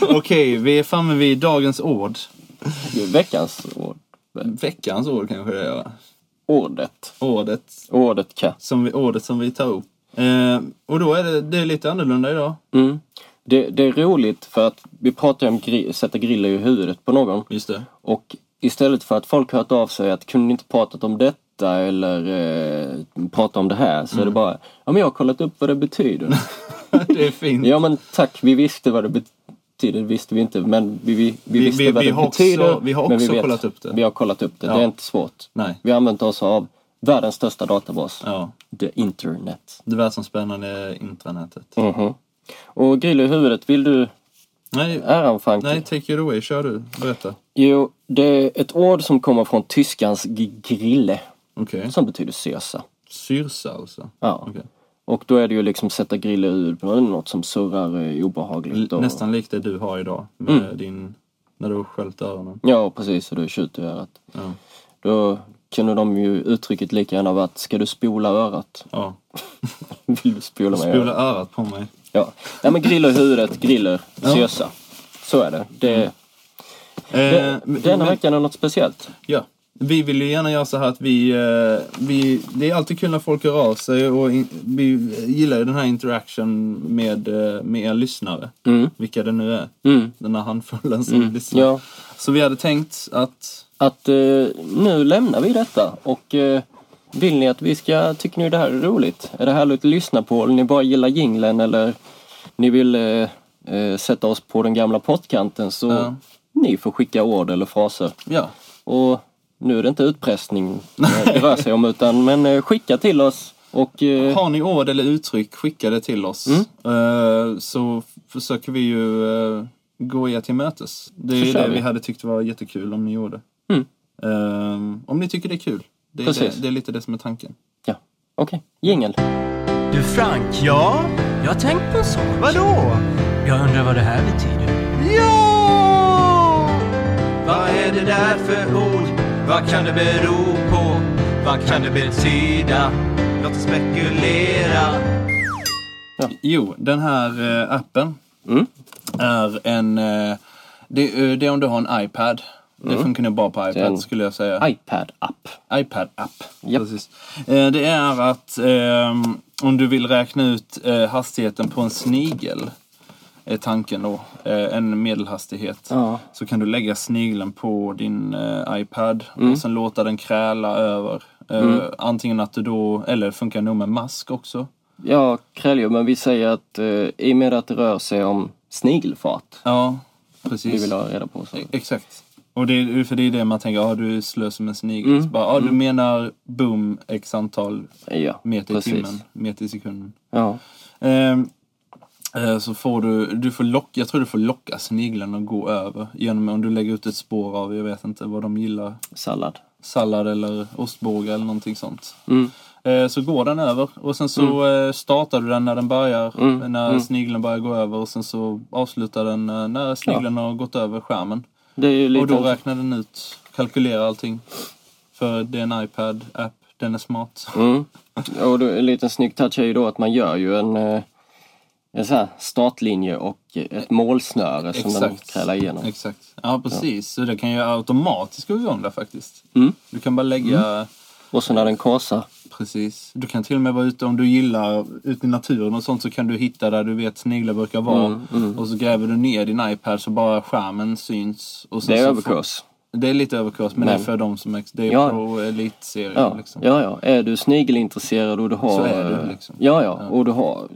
S2: Okej, vi är framme vid dagens ord.
S1: Veckans ord.
S2: Veckans ord kanske det är, va?
S1: Ordet.
S2: Ordet
S1: Ordet K.
S2: som vi, ordet som vi tar upp. Eh, och då är det, det är lite annorlunda idag.
S1: Mm. Det, det är roligt för att vi pratar ju om gri- sätta griller i huvudet på någon.
S2: Just det.
S1: Och istället för att folk hört av sig att kunde ni inte pratat om detta eller eh, prata om det här så är det
S2: Mm.
S1: bara ja men jag har kollat upp vad det betyder.
S2: det är fint.
S1: ja men tack, vi visste vad det betyder, det visste vi inte men vi, vi, vi,
S2: Vi-
S1: visste
S2: vi-
S1: vad
S2: vi
S1: det
S2: har också-
S1: betyder.
S2: vi har
S1: men
S2: också kollat upp det.
S1: Vi har kollat upp det,
S2: Ja.
S1: det är inte svårt.
S2: Nej.
S1: Vi har använt oss av världens största databas,
S2: Ja,
S1: the internet.
S2: det världsomspännande intranätet.
S1: Mhm. Och grill i huvudet, vill du
S2: Nej,
S1: äran Frankie?
S2: nej, take it away. Kör du. Berätta.
S1: Jo, det är ett ord som kommer från tyskans g- grille
S2: Okej.
S1: som betyder sösa.
S2: Syrsa alltså.
S1: Ja.
S2: Okej.
S1: Och då är det ju liksom sätta griller ur på något som surrar eh, obehagligt.
S2: L-
S1: Och,
S2: Nästan likt det du har idag. Med
S1: Mm.
S2: din... När du har sköljt öronen.
S1: Ja, precis. Och du tjuter i örat.
S2: Ja.
S1: Då kunde de ju uttrycket lika gärna varit ska du spola örat?
S2: Ja.
S1: Vill du spola mig i
S2: Spola
S1: örat?
S2: örat på mig.
S1: Ja. ja, men griller i huvudet, griller, sösa. Så är det. det,
S2: Eh,
S1: det denna veckan är något speciellt.
S2: Ja. Vi vill ju gärna göra så här att vi, eh, vi... Det är alltid kul när folk hör av sig och in, vi gillar ju den här interaction med, eh, med er lyssnare. Vilka det nu är. Den här handfullen som lyssnar.
S1: Mm. Ja.
S2: Så vi hade tänkt att...
S1: Att eh, nu lämnar vi detta och eh, vill ni att vi ska, tycker ni det här är roligt? Är det härligt att lyssna på? Eller ni bara gillar jinglen eller ni vill eh, eh, sätta oss på den gamla pottkanten så
S2: Ja.
S1: ni får skicka ord eller fraser.
S2: Ja.
S1: Och nu är det inte utpressning eh, det rör sig om utan men eh, skicka till oss och eh, Mm.
S2: Har ni ord eller uttryck, skicka det till oss. Eh, så f- försöker vi ju eh, gå er till mötes. Det är
S1: Så kör
S2: det vi
S1: vi. Mm.
S2: hade tyckt var jättekul om ni gjorde. Eh, om ni tycker det är kul. Det är,
S1: Precis.
S2: det, det är lite det som är tanken.
S1: ja, okej, jingel.
S8: Du Frank? Ja? Jag har tänkt på en sak. Vadå? Jag undrar vad det här betyder.
S5: Vad är det där för ord? Vad kan det bero på? Vad kan det betyda? Låt oss spekulera.
S1: Mm.
S2: Jo, den här eh, appen är en, eh, Det, eh, det är om du har en iPad. Det funkar nog bara på iPad
S1: Mm. Den-
S2: skulle jag säga.
S1: iPad-app.
S2: iPad-app. Precis. Eh, Det är att ehm, om du vill räkna ut eh, hastigheten på en snigel, är tanken då, eh, en medelhastighet,
S1: Ja.
S2: så kan du lägga snigeln på din eh, iPad
S1: Mm.
S2: och sen låta den kräla över. Eh, Antingen att du då, eller funkar nog med mask också.
S1: Ja, kräljor, men vi säger att eh, i och med att det rör sig om snigelfart
S2: Ja,
S1: vi
S2: precis.
S1: vill ha reda på. Så.
S2: Exakt. Och det är, för det är det man tänker, ja du är slös som en snigel.
S1: Mm.
S2: Så bara, ja, du menar boom x antal
S1: Ja,
S2: meter i
S1: precis.
S2: timmen, meter i sekunden.
S1: Ja.
S2: Ehm, eh, så får du, du får locka, jag tror du får locka sniglarna att gå över. Genom om du lägger ut ett spår av, jag vet inte vad de gillar,
S1: Sallad.
S2: sallad eller ostbågar eller någonting sånt.
S1: Mm.
S2: Eh, Så går den över och sen så eh, startar du den när den börjar,
S1: Mm.
S2: när snigeln börjar gå över och sen så avslutar den eh, när snigeln har gått över skärmen.
S1: Det är ju
S2: Och
S1: lite...
S2: då räknar den ut, kalkylerar allting. För det är en iPad-app, den är smart.
S1: Mm. Och då, en liten snygg touch är ju då att man gör ju en, eh, en så här startlinje och ett målsnöre som den krälar igenom.
S2: Exakt. Ja, precis. Så det kan ju automatiskt gå igång där faktiskt.
S1: Mm.
S2: Du kan bara lägga...
S1: Och så när den korsar.
S2: Precis. Du kan till och med vara ute, om du gillar ute i naturen och sånt, så kan du hitta där du vet sniglar brukar vara.
S1: Mm,
S2: Och så gräver du ner din iPad så bara skärmen syns. Och sen
S1: Det är
S2: så
S1: överkurs.
S2: Får, det är lite överkurs, men, det
S1: Men-
S2: är för de som är... Det är
S1: Ja.
S2: pro elitserien
S1: Ja.
S2: liksom.
S1: ja, ja. Är du snigelintresserad och du har...
S2: Så är du,
S1: eh,
S2: liksom.
S1: Ja, ja. Och du har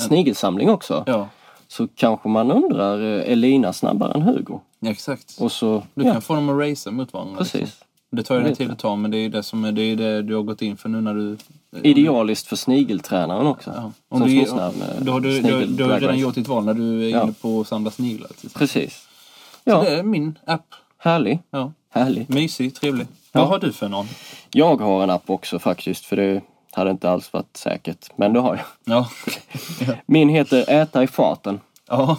S1: snigelsamling också.
S2: Ja,
S1: Så kanske man undrar, eh, är Lina snabbare än Hugo?
S2: ja, exakt.
S1: Och så...
S2: Du
S1: ja,
S2: kan få dem att racea mot varandra. Liksom.
S1: precis.
S2: Det tar ju
S1: Jag
S2: den
S1: vet
S2: tid
S1: det.
S2: att ta, men det är ju det, som är, det, är det du har gått in för nu när du... eh,
S1: Idealiskt för snigeltränaren också.
S2: Ja.
S1: Som
S2: Om du,
S1: du, snabbt
S2: då har du, du, du har redan gjort ditt val när du är
S1: Ja.
S2: inne på att samla sniglar. Till exempel.
S1: Precis.
S2: Så
S1: Ja,
S2: det är min app.
S1: härlig.
S2: Ja.
S1: Härlig.
S2: Mysig, trevlig.
S1: Ja.
S2: Vad har du för någon?
S1: Jag har en app också faktiskt, för det hade inte alls varit säkert. Men det har jag.
S2: Ja.
S1: Min heter Äta i farten.
S2: ja.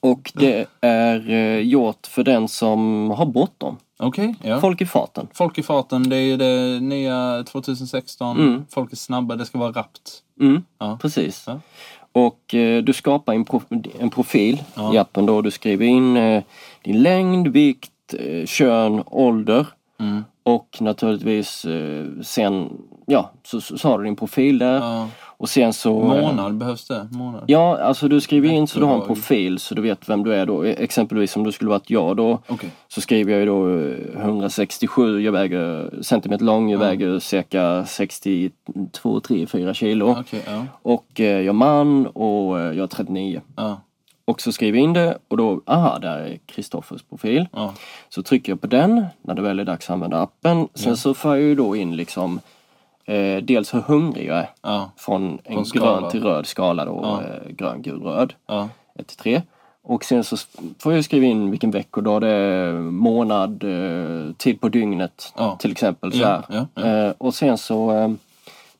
S1: Och det är eh, gjort för den som har bråttom.
S2: Okej. Ja. Folk.
S1: Folk i farten.
S2: i farten, det är ju det nya 2016. Folk är snabba, det ska vara rappt.
S1: Mm,
S2: Ja.
S1: precis.
S2: Ja.
S1: Och eh, du skapar en, pro en profil i appen då. Du skriver in eh, din längd, vikt, eh, kön, ålder.
S2: Mm.
S1: Och naturligtvis eh, sen, ja, så, så, så har du din profil där.
S2: Ja.
S1: Och sen så... eh,
S2: Månad behövs det. Månad.
S1: Ja, alltså du skriver in så du har en
S2: Efterdrag.
S1: profil så du vet vem du är då. E, Exempelvis om du skulle varit jag då
S2: Okej.
S1: så skriver jag ju då eh, 167, jag väger centimeter lång,
S2: Mm.
S1: jag väger cirka 62, 3, 4 kilo.
S2: Okej, ja.
S1: Och eh, jag är man och eh, jag är 39.
S2: Ja.
S1: Och så skriver jag in det och då, aha, där är Kristoffers profil.
S2: Ja.
S1: Så trycker jag på den när det väl är dags att använda appen. Sen så får jag ju då in liksom eh, dels hur hungrig jag är
S2: Ja.
S1: från en
S2: Från skala.
S1: grön till röd skala då,
S2: Ja.
S1: eh, grön, gul, röd.
S2: Ja.
S1: 1 till 3. Och sen så får jag skriva in vilken veckodag det är, månad, eh, tid på dygnet
S2: Ja.
S1: till exempel. Så
S2: Ja,
S1: här.
S2: ja, ja.
S1: Eh, Och sen så, eh,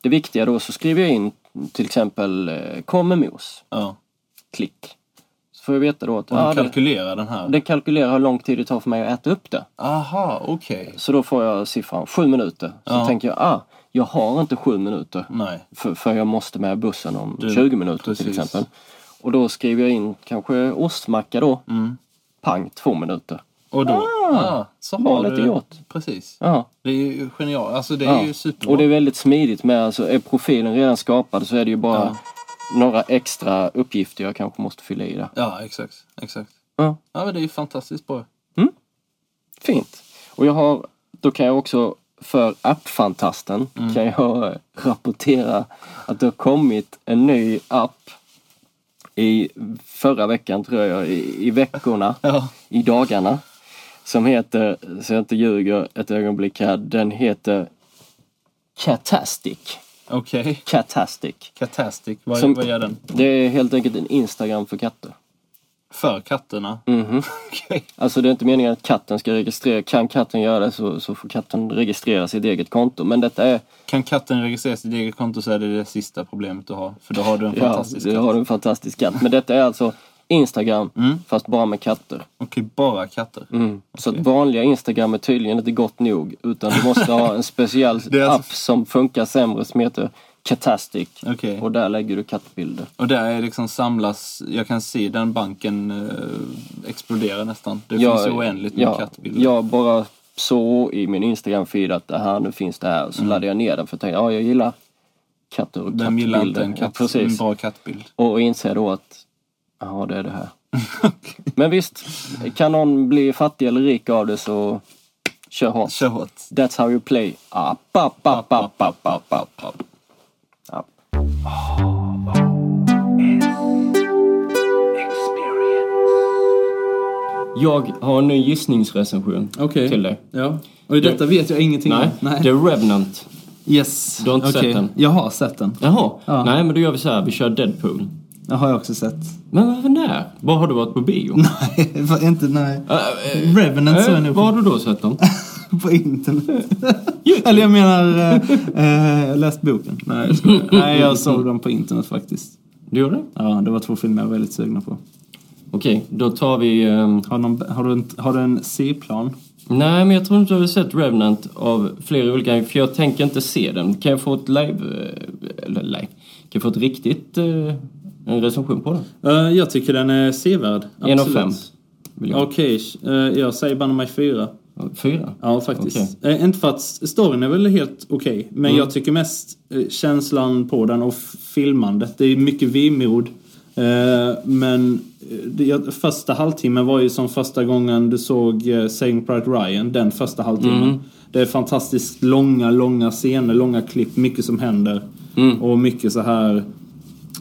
S1: det viktiga då, så skriver jag in till exempel eh, kommer mos,
S2: ja.
S1: klick. Så får jag veta då att
S2: Och
S1: ah,
S2: du
S1: den,
S2: kalkylerar den här?
S1: den kalkylerar hur lång tid det tar för mig att äta upp det.
S2: Aha, okej.
S1: Så då får jag siffran sju minuter. Så
S2: Ja.
S1: tänker jag, ah, jag har inte sju minuter.
S2: Nej.
S1: För, för jag måste med bussen om
S2: Du-
S1: 20 minuter till
S2: precis.
S1: exempel. Och då skriver jag in kanske ostmacka då.
S2: Mm.
S1: Pang, två minuter.
S2: Och då... Ah, så har
S1: Valet
S2: du...
S1: är gjort.
S2: Precis.
S1: Ja.
S2: Det är ju genialt. Alltså det är
S1: ja.
S2: ju superbra.
S1: Och det är väldigt smidigt med, alltså är profilen redan skapad så är det ju bara några extra uppgifter jag kanske måste fylla i där.
S2: Ja, exakt. Exakt.
S1: Ja.
S2: Ja, men det är ju fantastiskt bra.
S1: Fint. Och jag har, då kan jag också för appfantasten
S2: Mm.
S1: kan jag eh, rapportera att det har kommit en ny app i förra veckan tror jag, i, i veckorna,
S2: Ja.
S1: i dagarna. Som heter, så jag inte ljuger ett ögonblick här, den heter Catastic.
S2: Okej.
S1: Catastic.
S2: Catastic, vad,
S1: Som-
S2: vad gör den?
S1: Det är helt enkelt en Instagram för katter.
S2: För katterna?
S1: Mhm.
S2: Okej.
S1: Alltså det är inte meningen att katten ska registrera, kan katten göra det så, så får katten registrera sitt eget konto. Men detta är
S2: Kan katten registrera sitt eget konto så är det det sista problemet du har. För då har du en
S1: Ja,
S2: fantastisk
S1: du
S2: katt. Mm.
S1: har en fantastisk katt. Men detta är alltså Instagram, fast bara med katter.
S2: Okej, bara katter.
S1: Så att vanliga Instagram är tydligen inte gott nog, utan du måste ha en speciell
S2: Det är alltså-
S1: app som funkar sämre som heter
S9: Catastic.
S2: Okej.
S9: Och där lägger du kattbilder.
S2: Och där är liksom samlas, jag kan se den banken eh, explodera nästan. Det
S9: Jag-
S2: finns ju oändligt med
S9: ja,
S2: kattbilder.
S9: Jag bara såg i min Instagram-feed att det här, nu finns det här. Och så laddade jag ner den för jag tänkte, ja jag gillar katter och
S2: Mm. Vem gillar inte
S9: kattbilder.
S2: en,
S9: Ja,
S2: katt, en
S9: precis.
S2: bra kattbild?
S9: Och inser då att, ja det är det här. Men visst, kan någon bli fattig eller rik av det så kör hårt.
S2: Kör hårt.
S9: That's how you play.
S1: Ah,
S9: App, app, app, app, app, app, app, app. App.
S1: Jag har en ny gissningsrecension
S2: Okej.
S1: till dig.
S2: Ja. Och i detta vet jag ingenting
S1: Nej,
S2: om. Nej.
S1: The Revenant.
S2: Yes.
S1: Du har inte
S2: Okej.
S1: sett den?
S2: Jag har sett den.
S1: Jaha,
S2: Ja.
S1: nej men då gör vi så här, vi kör Deadpool.
S2: Den har jag också sett.
S1: Men vad- när? Var har du varit på bio?
S2: Nej, vad- inte nej.
S1: Äh, äh,
S2: Revenant såg jag
S1: äh,
S2: nog
S1: var har
S2: på,
S1: du då sett den?
S2: på internet. Eller jag menar, eh, eh, jag läst boken. Nej, jag skojar. nej, jag såg den på internet faktiskt.
S1: Du gjorde det?
S2: Ja, det var två filmer jag var väldigt sugna på.
S1: Okej, då tar vi... ehm,
S2: Har, någon, har, du, en, har du en C-plan?
S1: nej, men jag tror inte du har sett Revenant av flera olika... För jag tänker inte se den. Kan jag få ett live... eh, Eller live? Kan jag få ett riktigt... eh, en recension på den?
S2: jag tycker den är sevärd.
S1: En av fem. Vill jag.
S2: Okej, jag säger banne mig fyra.
S1: Fyra?
S2: Ja, faktiskt. Eh, inte för att storyn är väl helt okej, men
S1: Mm.
S2: jag tycker mest eh, känslan på den och f- filmandet. Det är mycket vemod. Eh, men eh, det, jag, första halvtimmen var ju som första gången du såg eh, Saving Private Ryan, den första halvtimmen.
S1: Mm.
S2: Det är fantastiskt långa, långa scener, långa klipp, mycket som händer.
S1: Mm.
S2: Och mycket så här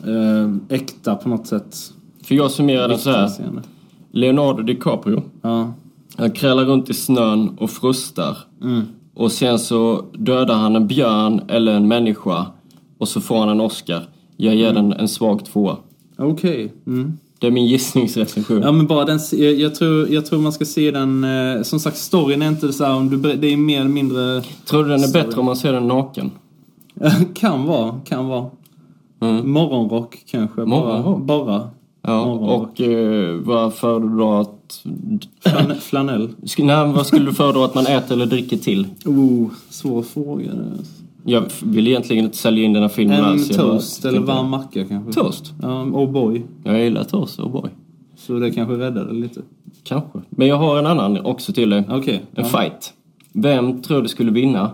S2: eh, äkta på något sätt.
S1: För jag summerar den så
S2: Riktiga
S1: här.
S2: scener.
S1: Leonardo DiCaprio.
S2: Ja.
S1: Han krälar runt i snön och frustar. Och sen så dödar han en björn eller en människa. Och så får han en Oscar. Jag ger den en svag tvåa.
S2: Okej. Mm.
S1: Det är min gissningsrecension.
S2: Ja men bara den, jag, jag, tror, jag tror man ska se den, eh, som sagt storyn är inte så här, om du, ber- det är mer eller mindre,
S1: Tror du den är bättre om man ser den naken?
S2: kan vara, kan vara. Morgonrock kanske,
S1: Mm. Morgonrock?
S2: bara. bara.
S1: Ja,
S2: Morgonrock.
S1: och eh, vad föredrar att...
S2: Flan, flanell.
S1: Sk- Nej, men vad skulle du föredra att man äter eller dricker till?
S2: Oh, svår fråga.
S1: Jag f- vill egentligen inte sälja in den här filmen
S2: En
S1: alls. jag bara
S2: toast
S1: tänkte-
S2: eller varm macka kanske.
S1: Toast?
S2: Ja, oh boy.
S1: Jag gillar toast, oh boy.
S2: Så det kanske räddar det lite.
S1: Kanske. Men jag har en annan också till dig.
S2: Okej.
S1: En
S2: ja.
S1: fight. Vem tror du skulle vinna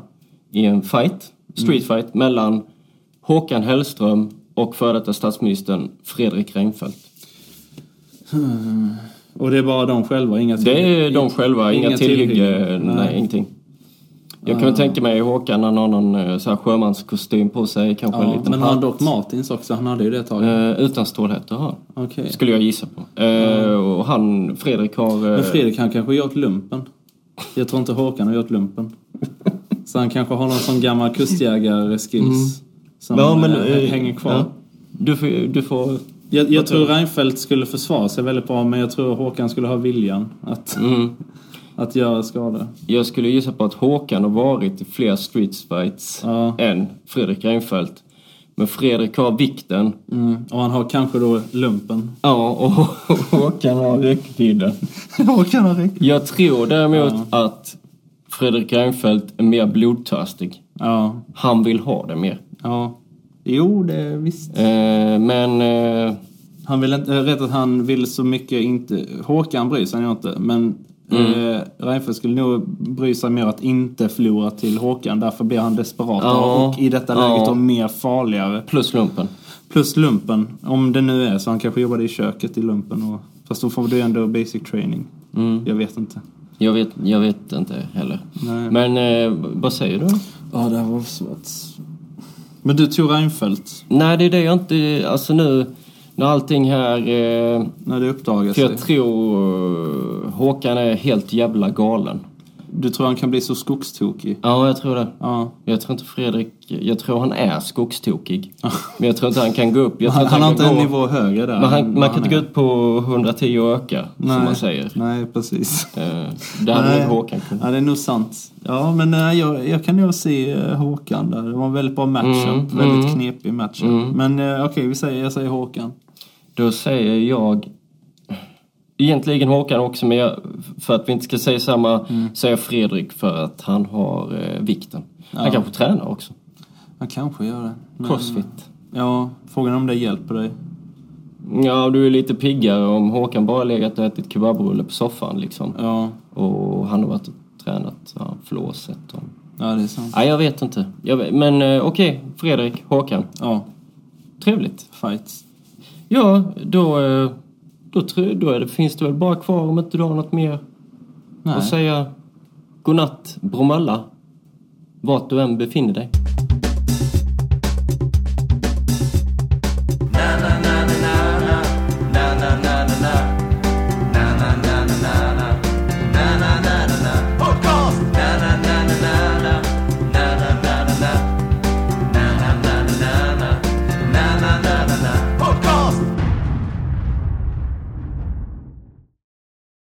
S1: i en fight, street
S2: Mm.
S1: fight, mellan Håkan Hellström och före detta statsministern Fredrik Reinfeldt?
S2: Och det är bara de själva, inga till.
S1: Det är de själva, inga,
S2: Inga
S1: tillhygge,
S2: tillhygge.
S1: nej.
S2: Nej. Ah.
S1: ingenting. Jag kan väl tänka mig Håkan, han har någon eh, så här sjömanskostym på sig, kanske en
S2: Ja,
S1: liten
S2: men han
S1: hatt.
S2: dock Martins också, han hade ju det ett tag.
S1: Eh, utan stålhätta har han.
S2: Okej.
S1: Skulle jag gissa på. Eh, Och han, Fredrik har... eh,
S2: Men Fredrik han kanske gjort lumpen. Jag tror inte Håkan har gjort lumpen. Så han kanske har någon sån gammal kustjägar-skills. Som
S1: Mm. ja, men,
S2: eh,
S1: eh,
S2: hänger kvar.
S1: ja. Du får... Du får
S2: Jag, jag tror Reinfeldt skulle försvara sig väldigt bra men jag tror Håkan skulle ha viljan att,
S1: Mm.
S2: att göra skada.
S1: Jag skulle gissa på att Håkan har varit i fler streetfights
S2: Ja.
S1: än Fredrik Reinfeldt. Men Fredrik har vikten.
S2: Mm. Och han har kanske då lumpen.
S1: Ja, och Håkan har räckvidden.
S2: Håkan har rätt.
S1: Jag tror däremot att Fredrik Reinfeldt är mer blodtörstig.
S2: Ja,
S1: Han vill ha det mer.
S2: ja. Jo, det visst.
S1: Eh, men... Eh,
S2: Han vill inte, jag vet att han vill så mycket inte, Håkan bryr sig nog inte, men
S1: Mm.
S2: eh, Reinfeldt skulle nog bry sig mer att inte förlora till Håkan. Därför blir han desperat
S1: Ja.
S2: och i detta
S1: Ja.
S2: läget då mer farligare.
S1: plus lumpen.
S2: Plus lumpen, om det nu är så. Han kanske jobbade i köket i lumpen. Och, fast då får du ändå basic training.
S1: Mm.
S2: Jag vet inte.
S1: Jag vet, jag vet inte heller.
S2: Nej.
S1: Men eh, vad säger du?
S2: Ja, det här var svårt. Men du tog Reinfeldt
S1: Nej, det är det jag inte... Alltså nu när allting här... Eh,
S2: när det uppdagades.
S1: För jag tror eh, Håkan är helt jävla galen.
S2: Du tror han kan bli så skogstokig?
S1: Ja, jag tror det.
S2: Ja.
S1: Jag tror inte Fredrik... Jag tror han är skogstokig. Men jag tror inte han kan gå upp. Jag tror
S2: Han, han har inte en
S1: gå-
S2: nivå högre där.
S1: Men
S2: än
S1: han,
S2: vad
S1: man kan
S2: han
S1: inte
S2: är.
S1: gå ut på 110 och öka, som man säger.
S2: Nej, precis.
S1: Eh, Det hade nog Håkan kunnat.
S2: ja, det är nog sant. Ja, men nej, jag, jag kan nog se eh, Håkan där. Det var en väldigt bra matchup. väldigt knepig matchup. Men eh, okej, vi säger, jag säger Håkan.
S1: Då säger jag... Egentligen Håkan också, men jag, för att vi inte ska säga samma, säger jag Fredrik för att han har eh, vikten. Han kanske tränar också.
S2: Ja, kanske gör det. Men-
S1: Crossfit.
S2: Ja, frågan är om det hjälper dig.
S1: Mm. Ja, du är lite piggare om Håkan bara legat och ätit kebabrulle på soffan liksom.
S2: Ja,
S1: Och han har varit och tränat ja, flåset och...
S2: ja det är sant.
S1: Nej, jag vet inte. Jag vet, men eh, okej, Fredrik, Håkan.
S2: Ja,
S1: Trevligt.
S2: fights.
S1: Ja, då, eh, då, tr- då är det, finns det väl bara kvar om inte du har något mer
S2: Nej.
S1: att säga. Godnatt, Bromölla. Vart du än befinner dig.